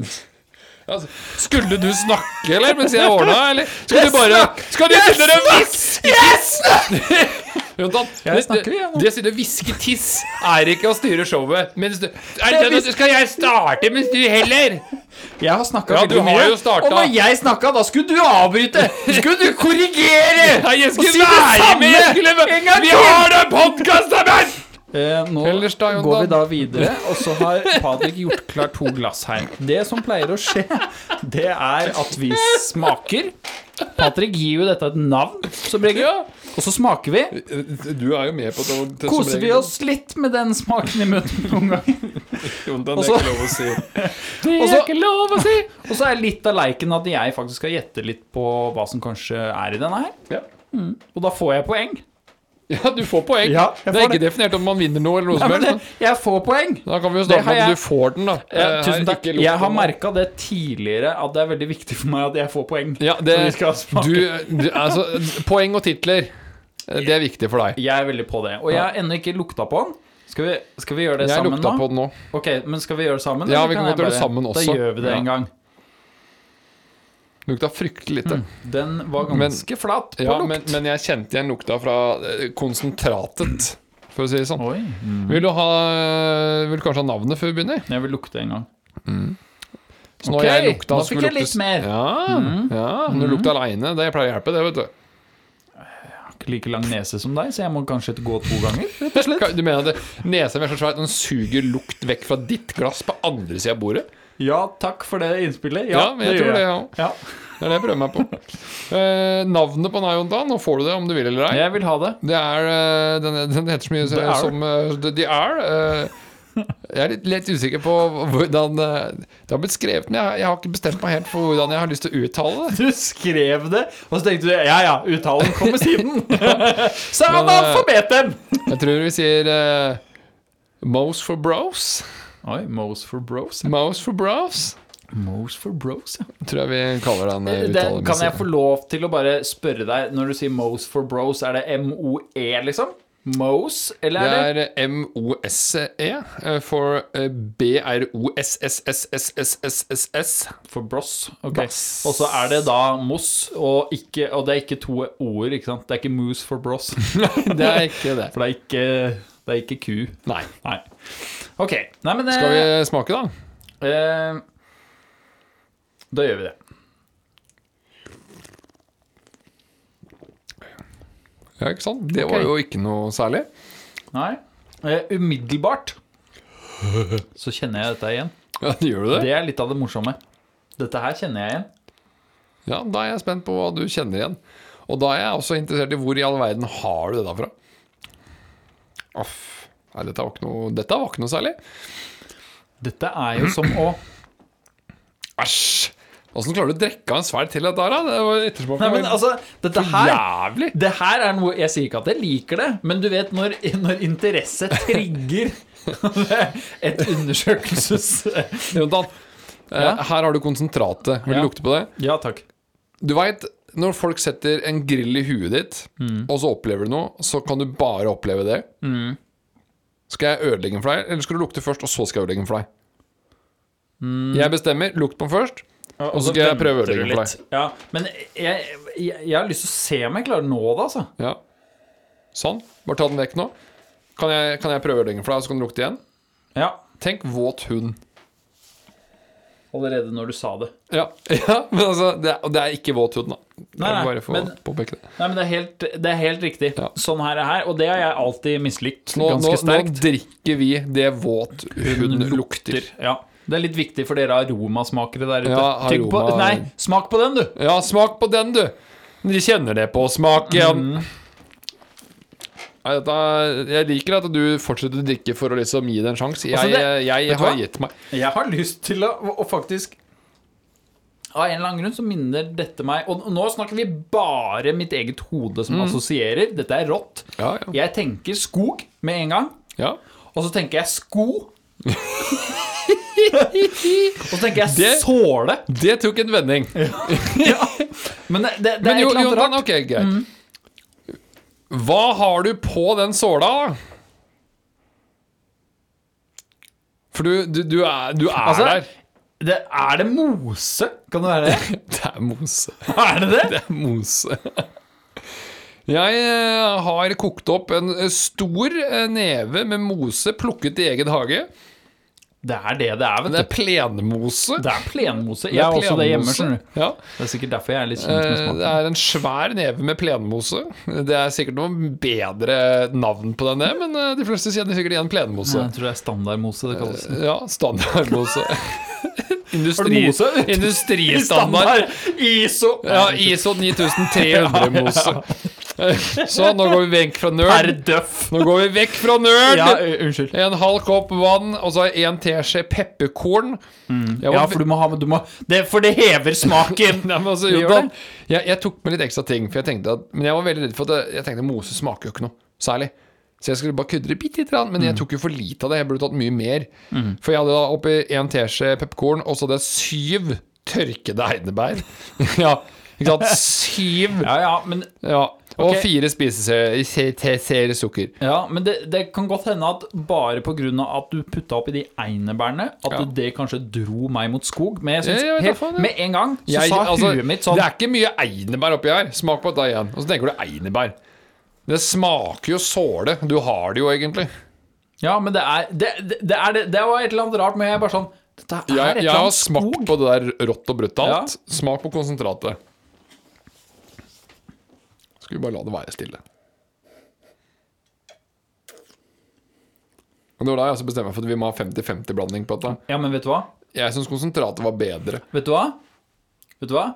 Speaker 1: Altså, skulle du snakke, eller? Mens jeg ordna, eller? Skal du bare Skal du sitte der og hviske Jontan,
Speaker 2: Jeg
Speaker 1: det-
Speaker 2: snakker igjen nå.
Speaker 1: det sånn å sitte og hviske tiss er ikke å styre showet. Mens du, er det, det- skal jeg starte mens du heller?
Speaker 2: Jeg har snakka
Speaker 1: Ja, du har jo starta.
Speaker 2: Og når jeg snakka, da skulle du avbryte! Skulle du korrigere!
Speaker 1: Nei, jeg
Speaker 2: Og
Speaker 1: skulle
Speaker 2: si det
Speaker 1: være med!
Speaker 2: samme
Speaker 1: Jeg skulle,
Speaker 2: en gang
Speaker 1: vi
Speaker 2: til!
Speaker 1: har da podkast sammen!
Speaker 2: Eh, nå
Speaker 1: Ellers da, Jon
Speaker 2: går vi
Speaker 1: Dan?
Speaker 2: da videre, og så har Patrick gjort klar to glass her. Det som pleier å skje, det er at vi smaker. Patrick gir jo dette et navn, som regel. Og så smaker vi.
Speaker 1: Du er jo med på det. det som
Speaker 2: Koser vi
Speaker 1: regel.
Speaker 2: oss litt med den smaken i munnen noen ganger.
Speaker 1: Jontan,
Speaker 2: Og
Speaker 1: det
Speaker 2: så-
Speaker 1: er ikke lov å si.
Speaker 2: Og så, og så er litt av leiken at jeg faktisk skal gjette litt på hva som kanskje er i denne her. Mm.
Speaker 1: Ja.
Speaker 2: Og da får jeg poeng.
Speaker 1: ja, du får poeng.
Speaker 2: Ja,
Speaker 1: det
Speaker 2: jeg
Speaker 1: er
Speaker 2: får
Speaker 1: ikke definert om man vinner noe eller noe
Speaker 2: Ja,
Speaker 1: som
Speaker 2: men det,
Speaker 1: helst.
Speaker 2: jeg får poeng.
Speaker 1: Da kan vi jo
Speaker 2: Det
Speaker 1: snakke om
Speaker 2: har
Speaker 1: at
Speaker 2: jeg-
Speaker 1: du får den, da.
Speaker 2: Eh,
Speaker 1: Eh,
Speaker 2: tusen
Speaker 1: her,
Speaker 2: takk.
Speaker 1: ikke lukt
Speaker 2: Jeg har
Speaker 1: på den.
Speaker 2: merka det tidligere at det er veldig viktig for meg at jeg får poeng.
Speaker 1: Ja,
Speaker 2: Når vi
Speaker 1: det,
Speaker 2: skal smake.
Speaker 1: du, du, altså, poeng og titler, eh, det er viktig for deg.
Speaker 2: Jeg er veldig på det. Og jeg har ennå ikke lukta på den. Skal vi, skal vi gjøre det
Speaker 1: Jeg
Speaker 2: sammen
Speaker 1: lukta
Speaker 2: nå?
Speaker 1: på den nå.
Speaker 2: Ok, men Skal vi gjøre det sammen?
Speaker 1: Ja,
Speaker 2: eller
Speaker 1: vi kan
Speaker 2: jeg
Speaker 1: godt gjøre det
Speaker 2: bare-
Speaker 1: sammen
Speaker 2: Da
Speaker 1: også.
Speaker 2: gjør vi det
Speaker 1: Ja.
Speaker 2: en gang.
Speaker 1: Lukta fryktelig
Speaker 2: Mm.
Speaker 1: lite.
Speaker 2: Den var
Speaker 1: Men-
Speaker 2: ganske flat på
Speaker 1: Ja,
Speaker 2: lukt.
Speaker 1: men, men jeg kjente igjen lukta fra eh, konsentratet, for å si det sånn.
Speaker 2: Oi.
Speaker 1: Vil du ha eh, Vil du kanskje ha navnet før vi begynner?
Speaker 2: Jeg vil lukte en gang.
Speaker 1: Så nå
Speaker 2: Ok,
Speaker 1: har jeg lukta,
Speaker 2: nå
Speaker 1: så
Speaker 2: fikk
Speaker 1: skulle
Speaker 2: jeg litt
Speaker 1: luktes-
Speaker 2: mer. Mm.
Speaker 1: Ja, ja Når du lukter aleine. Det pleier å hjelpe, det, vet du.
Speaker 2: Jeg har ikke like lang nese som deg, så jeg må kanskje gå to ganger.
Speaker 1: Du mener at det- nesa mi er så svær at den suger lukt vekk fra ditt glass på andre sida av bordet?
Speaker 2: Ja, takk for det innspillet.
Speaker 1: Ja, men jeg tror det, ja.
Speaker 2: Ja.
Speaker 1: Det er det jeg prøver meg på. Eh, navnet på Najontan, nå får du det om du vil eller ei.
Speaker 2: Jeg vil ha det.
Speaker 1: Det er eh, den, den heter så mye
Speaker 2: The Hour.
Speaker 1: som eh, The, The Hour. eh. jeg er litt, litt usikker på hvordan eh, Det har blitt skrevet, men jeg, jeg har ikke bestemt meg helt for hvordan jeg har lyst til å uttale det.
Speaker 2: Du skrev det, og så tenkte du ja ja, uttalen kommer siden. så er han
Speaker 1: Men, eh,
Speaker 2: alfabeten!
Speaker 1: Jeg tror vi sier eh, Mose for bros.
Speaker 2: Oi, Mose for bros.
Speaker 1: Mose for bros.
Speaker 2: Mose for bros, ja.
Speaker 1: Tror jeg vi kaller den eh,
Speaker 2: Den, kan jeg
Speaker 1: uttalemessig.
Speaker 2: få lov til å bare spørre deg, når du sier Mose for bros, er det MOE, liksom? Mose, eller
Speaker 1: Det
Speaker 2: er det
Speaker 1: er eh, M-O-S-E eh, for eh, B-R-O-S-S-S-S-S-S-S-S.
Speaker 2: For bros. ok.
Speaker 1: Brass.
Speaker 2: Og så er det da Moss, og, ikke, og det er ikke to ord, ikke sant? Det er ikke Moose for bros.
Speaker 1: Det er ikke det.
Speaker 2: For det er ikke, det er ikke ku.
Speaker 1: Nei.
Speaker 2: Nei. Ok. Nei, men det,
Speaker 1: Skal vi smake, da?
Speaker 2: eh, Da gjør vi det.
Speaker 1: Ja, ikke sant? Det
Speaker 2: Ok.
Speaker 1: var jo ikke noe særlig.
Speaker 2: Nei. Eh, umiddelbart så kjenner jeg dette igjen.
Speaker 1: Ja, Gjør du det?
Speaker 2: Det er litt av det morsomme. Dette her kjenner jeg igjen.
Speaker 1: Ja, Da er jeg spent på hva du kjenner igjen. Og da er jeg også interessert i hvor i all verden har du det derfra? Aff. Nei, dette var ikke noe, dette var ikke noe særlig.
Speaker 2: Dette er jo som å
Speaker 1: Æsj! Åssen klarer du å drikke av en svær til dette her, da? Det var ettersmaken.
Speaker 2: Nei, men altså, dette her
Speaker 1: Jævlig!
Speaker 2: det her er noe Jeg sier ikke at jeg liker det, men du vet når, når interesse trigger et undersøkelses...
Speaker 1: Jontan, eh,
Speaker 2: Ja?
Speaker 1: her har du konsentratet. Vil du
Speaker 2: Ja.
Speaker 1: lukte på det?
Speaker 2: Ja takk.
Speaker 1: Du veit, når folk setter en grill i huet ditt,
Speaker 2: Mm.
Speaker 1: og så opplever du noe, så kan du bare oppleve det. Skal jeg ødelegge den for deg, eller skal du lukte først, og så skal jeg ødelegge den for deg?
Speaker 2: Mm.
Speaker 1: Jeg bestemmer. Lukt på den først.
Speaker 2: Og
Speaker 1: så skal jeg prøve å ødelegge for deg.
Speaker 2: Ja, men jeg, jeg, jeg har lyst til å se om jeg klarer å nå det, altså.
Speaker 1: Ja. Sånn. Bare ta den vekk nå. Kan jeg, kan jeg prøve ødelegge den for deg, og så kan du lukte igjen?
Speaker 2: Ja,
Speaker 1: Tenk våt hund.
Speaker 2: Allerede når du sa det.
Speaker 1: Ja, ja men altså Det er, og det er ikke våt hund, da. Jeg
Speaker 2: Nei,
Speaker 1: vil
Speaker 2: nei,
Speaker 1: bare få
Speaker 2: men-
Speaker 1: påpeke det.
Speaker 2: Nei, men Det er helt, det er helt riktig.
Speaker 1: Ja.
Speaker 2: Sånn her er her, og det har jeg alltid mislikt
Speaker 1: Nå, nå,
Speaker 2: ganske
Speaker 1: nå
Speaker 2: sterkt.
Speaker 1: drikker vi det våt hund lukter.
Speaker 2: Ja. Det er litt viktig for dere aromasmakere der ute.
Speaker 1: Ja,
Speaker 2: Tygg på,
Speaker 1: aroma-
Speaker 2: nei, smak på den, du!
Speaker 1: Ja, smak på den, du. De kjenner det på smaken.
Speaker 2: Mhm.
Speaker 1: Nei, dette, jeg liker at du fortsetter å drikke for å liksom gi det en sjanse. Jeg,
Speaker 2: Altså, det-
Speaker 1: jeg,
Speaker 2: vet du
Speaker 1: har
Speaker 2: hva?
Speaker 1: gitt meg.
Speaker 2: Jeg har lyst til å, å faktisk Av en eller annen grunn så minner dette meg Og nå snakker vi bare mitt eget hode
Speaker 1: Mm.
Speaker 2: som assosierer. Dette er rått.
Speaker 1: Ja, ja.
Speaker 2: Jeg tenker skog med en gang.
Speaker 1: ja.
Speaker 2: Og så tenker jeg sko. og så tenker jeg
Speaker 1: Det-
Speaker 2: såle.
Speaker 1: Det tok en vending.
Speaker 2: Men det, det, det
Speaker 1: Men
Speaker 2: er
Speaker 1: jo,
Speaker 2: et eller annet
Speaker 1: Jonathan,
Speaker 2: rart. Mhm.
Speaker 1: ok, greit. Hva har du på den såla? For du, du, du er, du er
Speaker 2: Altså,
Speaker 1: der.
Speaker 2: Det, er det mose? Kan det være det?
Speaker 1: Det er mose.
Speaker 2: er det det?
Speaker 1: Det er mose. Jeg eh, har kokt opp en eh, stor eh, neve med mose plukket i egen hage.
Speaker 2: Det er det det er,
Speaker 1: Men det
Speaker 2: vet
Speaker 1: er
Speaker 2: du.
Speaker 1: plenmose.
Speaker 2: Det er plenmose.
Speaker 1: Det
Speaker 2: Jeg
Speaker 1: er
Speaker 2: har også det hjemme,
Speaker 1: plenmose.
Speaker 2: skjønner du.
Speaker 1: Ja.
Speaker 2: Det er sikkert derfor jeg er litt kjent med
Speaker 1: Eh,
Speaker 2: smaken.
Speaker 1: Det er en svær neve med plenmose. Det er sikkert noe bedre navn på den, det, men eh, de fleste kjenner sikkert igjen plenmose.
Speaker 2: Jeg tror det er standardmose det kalles.
Speaker 1: Ja, standardmose. Industri,
Speaker 2: mose?
Speaker 1: industristandard.
Speaker 2: ISO!
Speaker 1: Ja, ISO 9300-mose. Så nå går vi vekk fra
Speaker 2: Per
Speaker 1: nerd.
Speaker 2: døff!
Speaker 1: Nå går vi vekk fra nerd!
Speaker 2: Ja, u- unnskyld.
Speaker 1: En halv kopp vann, og så en teskje pepperkorn. Jeg
Speaker 2: Mm. Ja,
Speaker 1: var
Speaker 2: for du må ha du må, det, For det hever smaken!
Speaker 1: Nei, men altså,
Speaker 2: Vi gjør
Speaker 1: Jordan,
Speaker 2: det.
Speaker 1: jeg, jeg tok med litt ekstra ting, for jeg tenkte at Men jeg var veldig redd for at jeg, jeg tenkte mose smaker jo ikke noe særlig. Så jeg skulle bare kødde det bitte lite grann, men
Speaker 2: Mm.
Speaker 1: jeg tok jo for lite av det. Jeg burde tatt mye mer. For jeg hadde da oppi en teskje pepperkorn, og så hadde jeg syv tørkede einebær. ja, ikke sant? Syv!
Speaker 2: Ja, ja, men,
Speaker 1: Ja. Og
Speaker 2: Ok.
Speaker 1: fire spiseskjeer sukker.
Speaker 2: ja, men det, det kan godt hende at bare på grunn av at du putta oppi de einebærene, at
Speaker 1: Ja.
Speaker 2: det kanskje dro meg mot skog. Men jeg synes,
Speaker 1: Ja, jeg vet
Speaker 2: helt,
Speaker 1: hva faen, ja.
Speaker 2: med en gang så
Speaker 1: Jeg-
Speaker 2: sa
Speaker 1: altså,
Speaker 2: huet mitt sånn
Speaker 1: Det er ikke mye einebær oppi her. Smak på dette igjen. Og så tenker du einebær. Det smaker jo såle. Du har det jo egentlig.
Speaker 2: Ja, men det er det, det, det er det, det var et eller annet rart, men jeg er bare sånn Dette er et
Speaker 1: Jeg, jeg
Speaker 2: eller
Speaker 1: har
Speaker 2: annet
Speaker 1: smakt
Speaker 2: skog.
Speaker 1: på det der rått og brutalt. Smak på konsentratet. Skal vi bare la det være stille. Og Det var da jeg også bestemte meg for at vi må ha 50-50-blanding på dette.
Speaker 2: Ja, men vet du hva?
Speaker 1: Jeg syns konsentratet var bedre.
Speaker 2: Vet du hva? Vet du hva?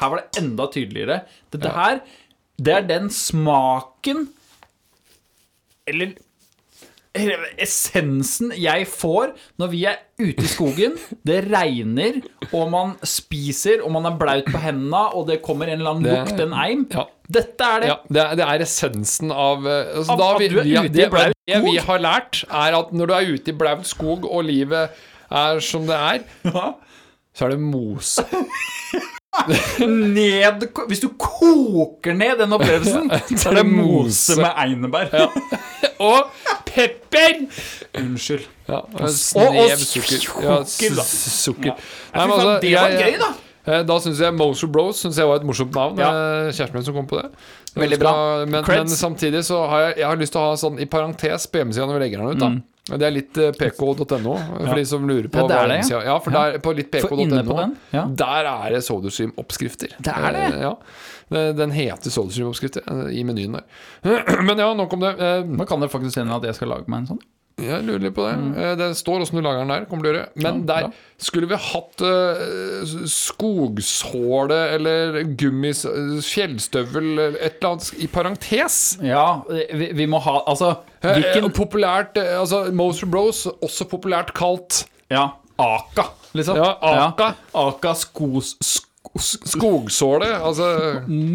Speaker 2: Her var det enda tydeligere. Dette her, det er den smaken Eller eller essensen jeg får når vi er ute i skogen, det regner, og man spiser, og man er blaut på hendene, og det kommer en eller annen
Speaker 1: Det-
Speaker 2: lukt, en eim.
Speaker 1: ja.
Speaker 2: Dette er det.
Speaker 1: Ja, det, er, det er essensen av eh, altså,
Speaker 2: Av
Speaker 1: da
Speaker 2: at
Speaker 1: vi,
Speaker 2: du er
Speaker 1: vi-
Speaker 2: ute i
Speaker 1: det,
Speaker 2: blaut
Speaker 1: Det vi
Speaker 2: skog?
Speaker 1: har lært, er at når du er ute i blaut skog, og livet er som det er, så er det mos.
Speaker 2: Ned, hvis du koker ned den opplevelsen, så er det mose med einebær.
Speaker 1: Og pepper!
Speaker 2: Unnskyld.
Speaker 1: Ja,
Speaker 2: og
Speaker 1: snev sukker. Ja,
Speaker 2: sukker, da.
Speaker 1: s- sukker.
Speaker 2: Fy
Speaker 1: Nei, men
Speaker 2: faen,
Speaker 1: altså,
Speaker 2: det var
Speaker 1: jeg-
Speaker 2: gøy, da.
Speaker 1: eh, Da syns jeg Moser Bros synes jeg var et morsomt navn.
Speaker 2: Ja.
Speaker 1: eh, Kjæresten min som kom på det.
Speaker 2: Veldig bra.
Speaker 1: Men, men
Speaker 2: Creds.
Speaker 1: samtidig så har jeg, jeg har lyst til å ha sånn i parentes på hjemmesida når vi legger den ut. da Det er litt eh, pk.no, for de som lurer på
Speaker 2: Mm. Ja, det er
Speaker 1: hva
Speaker 2: det, ja.
Speaker 1: hjemmesida- Ja, for der, på litt
Speaker 2: For inne på
Speaker 1: pk.no
Speaker 2: den, ja.
Speaker 1: Der er det sodastream-oppskrifter.
Speaker 2: Det er det.
Speaker 1: Eh, Ja. Den- Den heter sodastream-oppskrifter eh, i menyen der. Men ja, nok om det. Eh,
Speaker 2: Nå kan det faktisk hende at jeg skal lage meg en sånn.
Speaker 1: Jeg lurer litt på
Speaker 2: Mm.
Speaker 1: det. Eh, Det står åssen du lager den der. kommer til å gjøre Men der skulle vi hatt eh, s- skogsåle eller gummis eh, fjellstøvel eller et eller annet i parentes.
Speaker 2: Ja, vi, vi må ha Altså,
Speaker 1: Eh,
Speaker 2: hvilken
Speaker 1: eh, Populært eh, altså Moser Bros, også populært kalt
Speaker 2: Ja, Aka, liksom.
Speaker 1: Ja, Aka.
Speaker 2: Ja, Aka skos... Sk
Speaker 1: skogsåle. Altså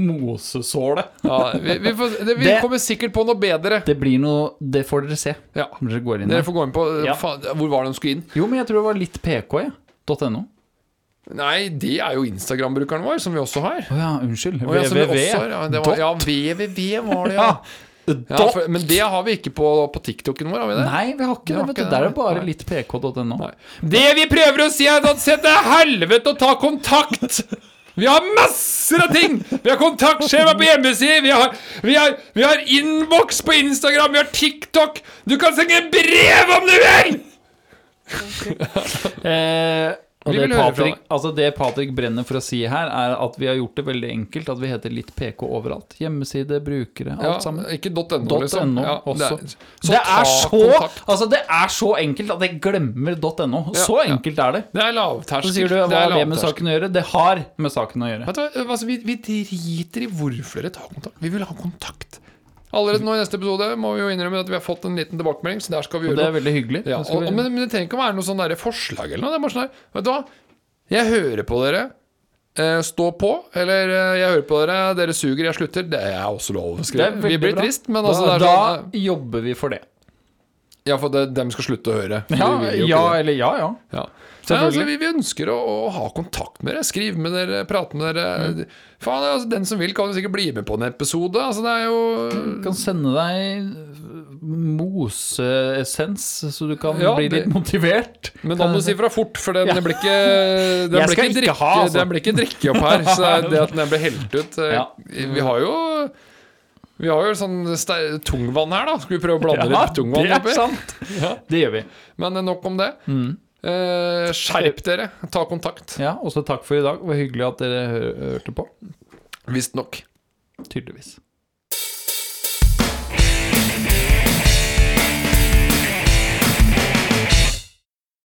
Speaker 2: mosesåle.
Speaker 1: ja, vi, vi, får, det, vi
Speaker 2: Det-
Speaker 1: kommer sikkert på noe bedre.
Speaker 2: Det blir noe Det får dere se
Speaker 1: Ja.
Speaker 2: når dere går inn
Speaker 1: Dere
Speaker 2: der.
Speaker 1: får gå inn på eh,
Speaker 2: Ja.
Speaker 1: faen, Hvor var det de skulle inn?
Speaker 2: Jo, men jeg tror det var litt pk, jeg. .no.
Speaker 1: Nei, det er jo Instagram-brukeren vår, som vi også har.
Speaker 2: Å ja, unnskyld.
Speaker 1: Å, ja, som vi
Speaker 2: www.
Speaker 1: også har, ja, det var, ja, VVV var det, ja.
Speaker 2: Ja.
Speaker 1: Ja, for, men det har vi ikke på, på TikToken vår, har vi det?
Speaker 2: Nei, vi har ikke det.
Speaker 1: har
Speaker 2: vet
Speaker 1: ikke
Speaker 2: du.
Speaker 1: det,
Speaker 2: Der er det
Speaker 1: nei.
Speaker 2: bare
Speaker 1: Nei.
Speaker 2: litt pk.no.
Speaker 1: Det vi prøver å si er at sett deg helvete og ta kontakt! Vi har masser av ting! Vi har kontaktskjema på hjemmeside, vi har, vi har, vi har innboks på Instagram, vi har TikTok! Du kan sende brev om du vil!
Speaker 2: Eh, og
Speaker 1: Vi
Speaker 2: det
Speaker 1: vil høre fra
Speaker 2: Patrick,
Speaker 1: deg.
Speaker 2: altså det Patrick brenner for å si her, er at vi har gjort det veldig enkelt. At vi heter litt PK overalt. Hjemmeside, brukere, alt
Speaker 1: Ja,
Speaker 2: sammen.
Speaker 1: ikke .no,
Speaker 2: .no
Speaker 1: liksom. Ja,
Speaker 2: også.
Speaker 1: det er-
Speaker 2: Det
Speaker 1: ta
Speaker 2: er, så,
Speaker 1: kontakt.
Speaker 2: altså det er så enkelt at jeg glemmer .no.
Speaker 1: Ja,
Speaker 2: Så
Speaker 1: ja.
Speaker 2: enkelt er det.
Speaker 1: Det er lavterskel.
Speaker 2: Så sier du hva
Speaker 1: det er
Speaker 2: har det med
Speaker 1: lavterskel.
Speaker 2: saken å gjøre? Det har med saken å gjøre.
Speaker 1: Vet du hva, altså, vi, vi driter i hvorfor dere tar kontakt. Vi vil ha kontakt. Allerede nå i neste episode må vi jo innrømme at vi har fått en liten tilbakemelding. Så der skal vi
Speaker 2: Og
Speaker 1: gjøre
Speaker 2: det
Speaker 1: noe.
Speaker 2: er veldig hyggelig.
Speaker 1: Ja,
Speaker 2: Det skal
Speaker 1: og,
Speaker 2: vi-
Speaker 1: men, men det trenger ikke å være noe sånn der forslag eller noe. Det er bare sånn der, vet du hva? Jeg hører på dere. eh, Stå på. Eller eh, jeg hører på dere. Dere suger, jeg slutter. Det er også lov å
Speaker 2: Det er
Speaker 1: skrive.
Speaker 2: veldig
Speaker 1: Vi blir
Speaker 2: bra.
Speaker 1: trist, men altså
Speaker 2: da,
Speaker 1: det er sånn,
Speaker 2: da jobber vi for det.
Speaker 1: eh, Ja, for det, dem skal slutte å høre. Vi
Speaker 2: Ja,
Speaker 1: vil jo ikke
Speaker 2: ja
Speaker 1: det.
Speaker 2: eller ja, ja.
Speaker 1: Ja. Nei,
Speaker 2: Selvfølgelig.
Speaker 1: altså, vi, vi ønsker å, å ha kontakt med dere, skrive med dere, prate med dere.
Speaker 2: Mm.
Speaker 1: Faen, altså, Den som vil, kan jo sikkert bli med på en episode. Altså, det er jo
Speaker 2: kan sende deg eh, moseessens, så du kan
Speaker 1: Ja,
Speaker 2: bli
Speaker 1: det-
Speaker 2: litt motivert.
Speaker 1: Men da må du si fra fort, for den blir ikke Den
Speaker 2: Jeg
Speaker 1: blir
Speaker 2: skal
Speaker 1: ikke,
Speaker 2: ikke
Speaker 1: drikke,
Speaker 2: ha, altså.
Speaker 1: den blir ikke drikke opp her. Så det at den blir helt ut eh,
Speaker 2: Ja.
Speaker 1: Vi har jo Vi har jo sånn ste- tungvann her, da. Skal vi prøve å blande litt tungvann
Speaker 2: det er Mm.
Speaker 1: oppi?
Speaker 2: sant. Det gjør vi.
Speaker 1: Men eh, nok om det. Eh, skjerp dere. Ta kontakt.
Speaker 2: Ja, også takk for i dag. Det var hyggelig at dere hø- hørte på.
Speaker 1: Visstnok.
Speaker 2: Tydeligvis.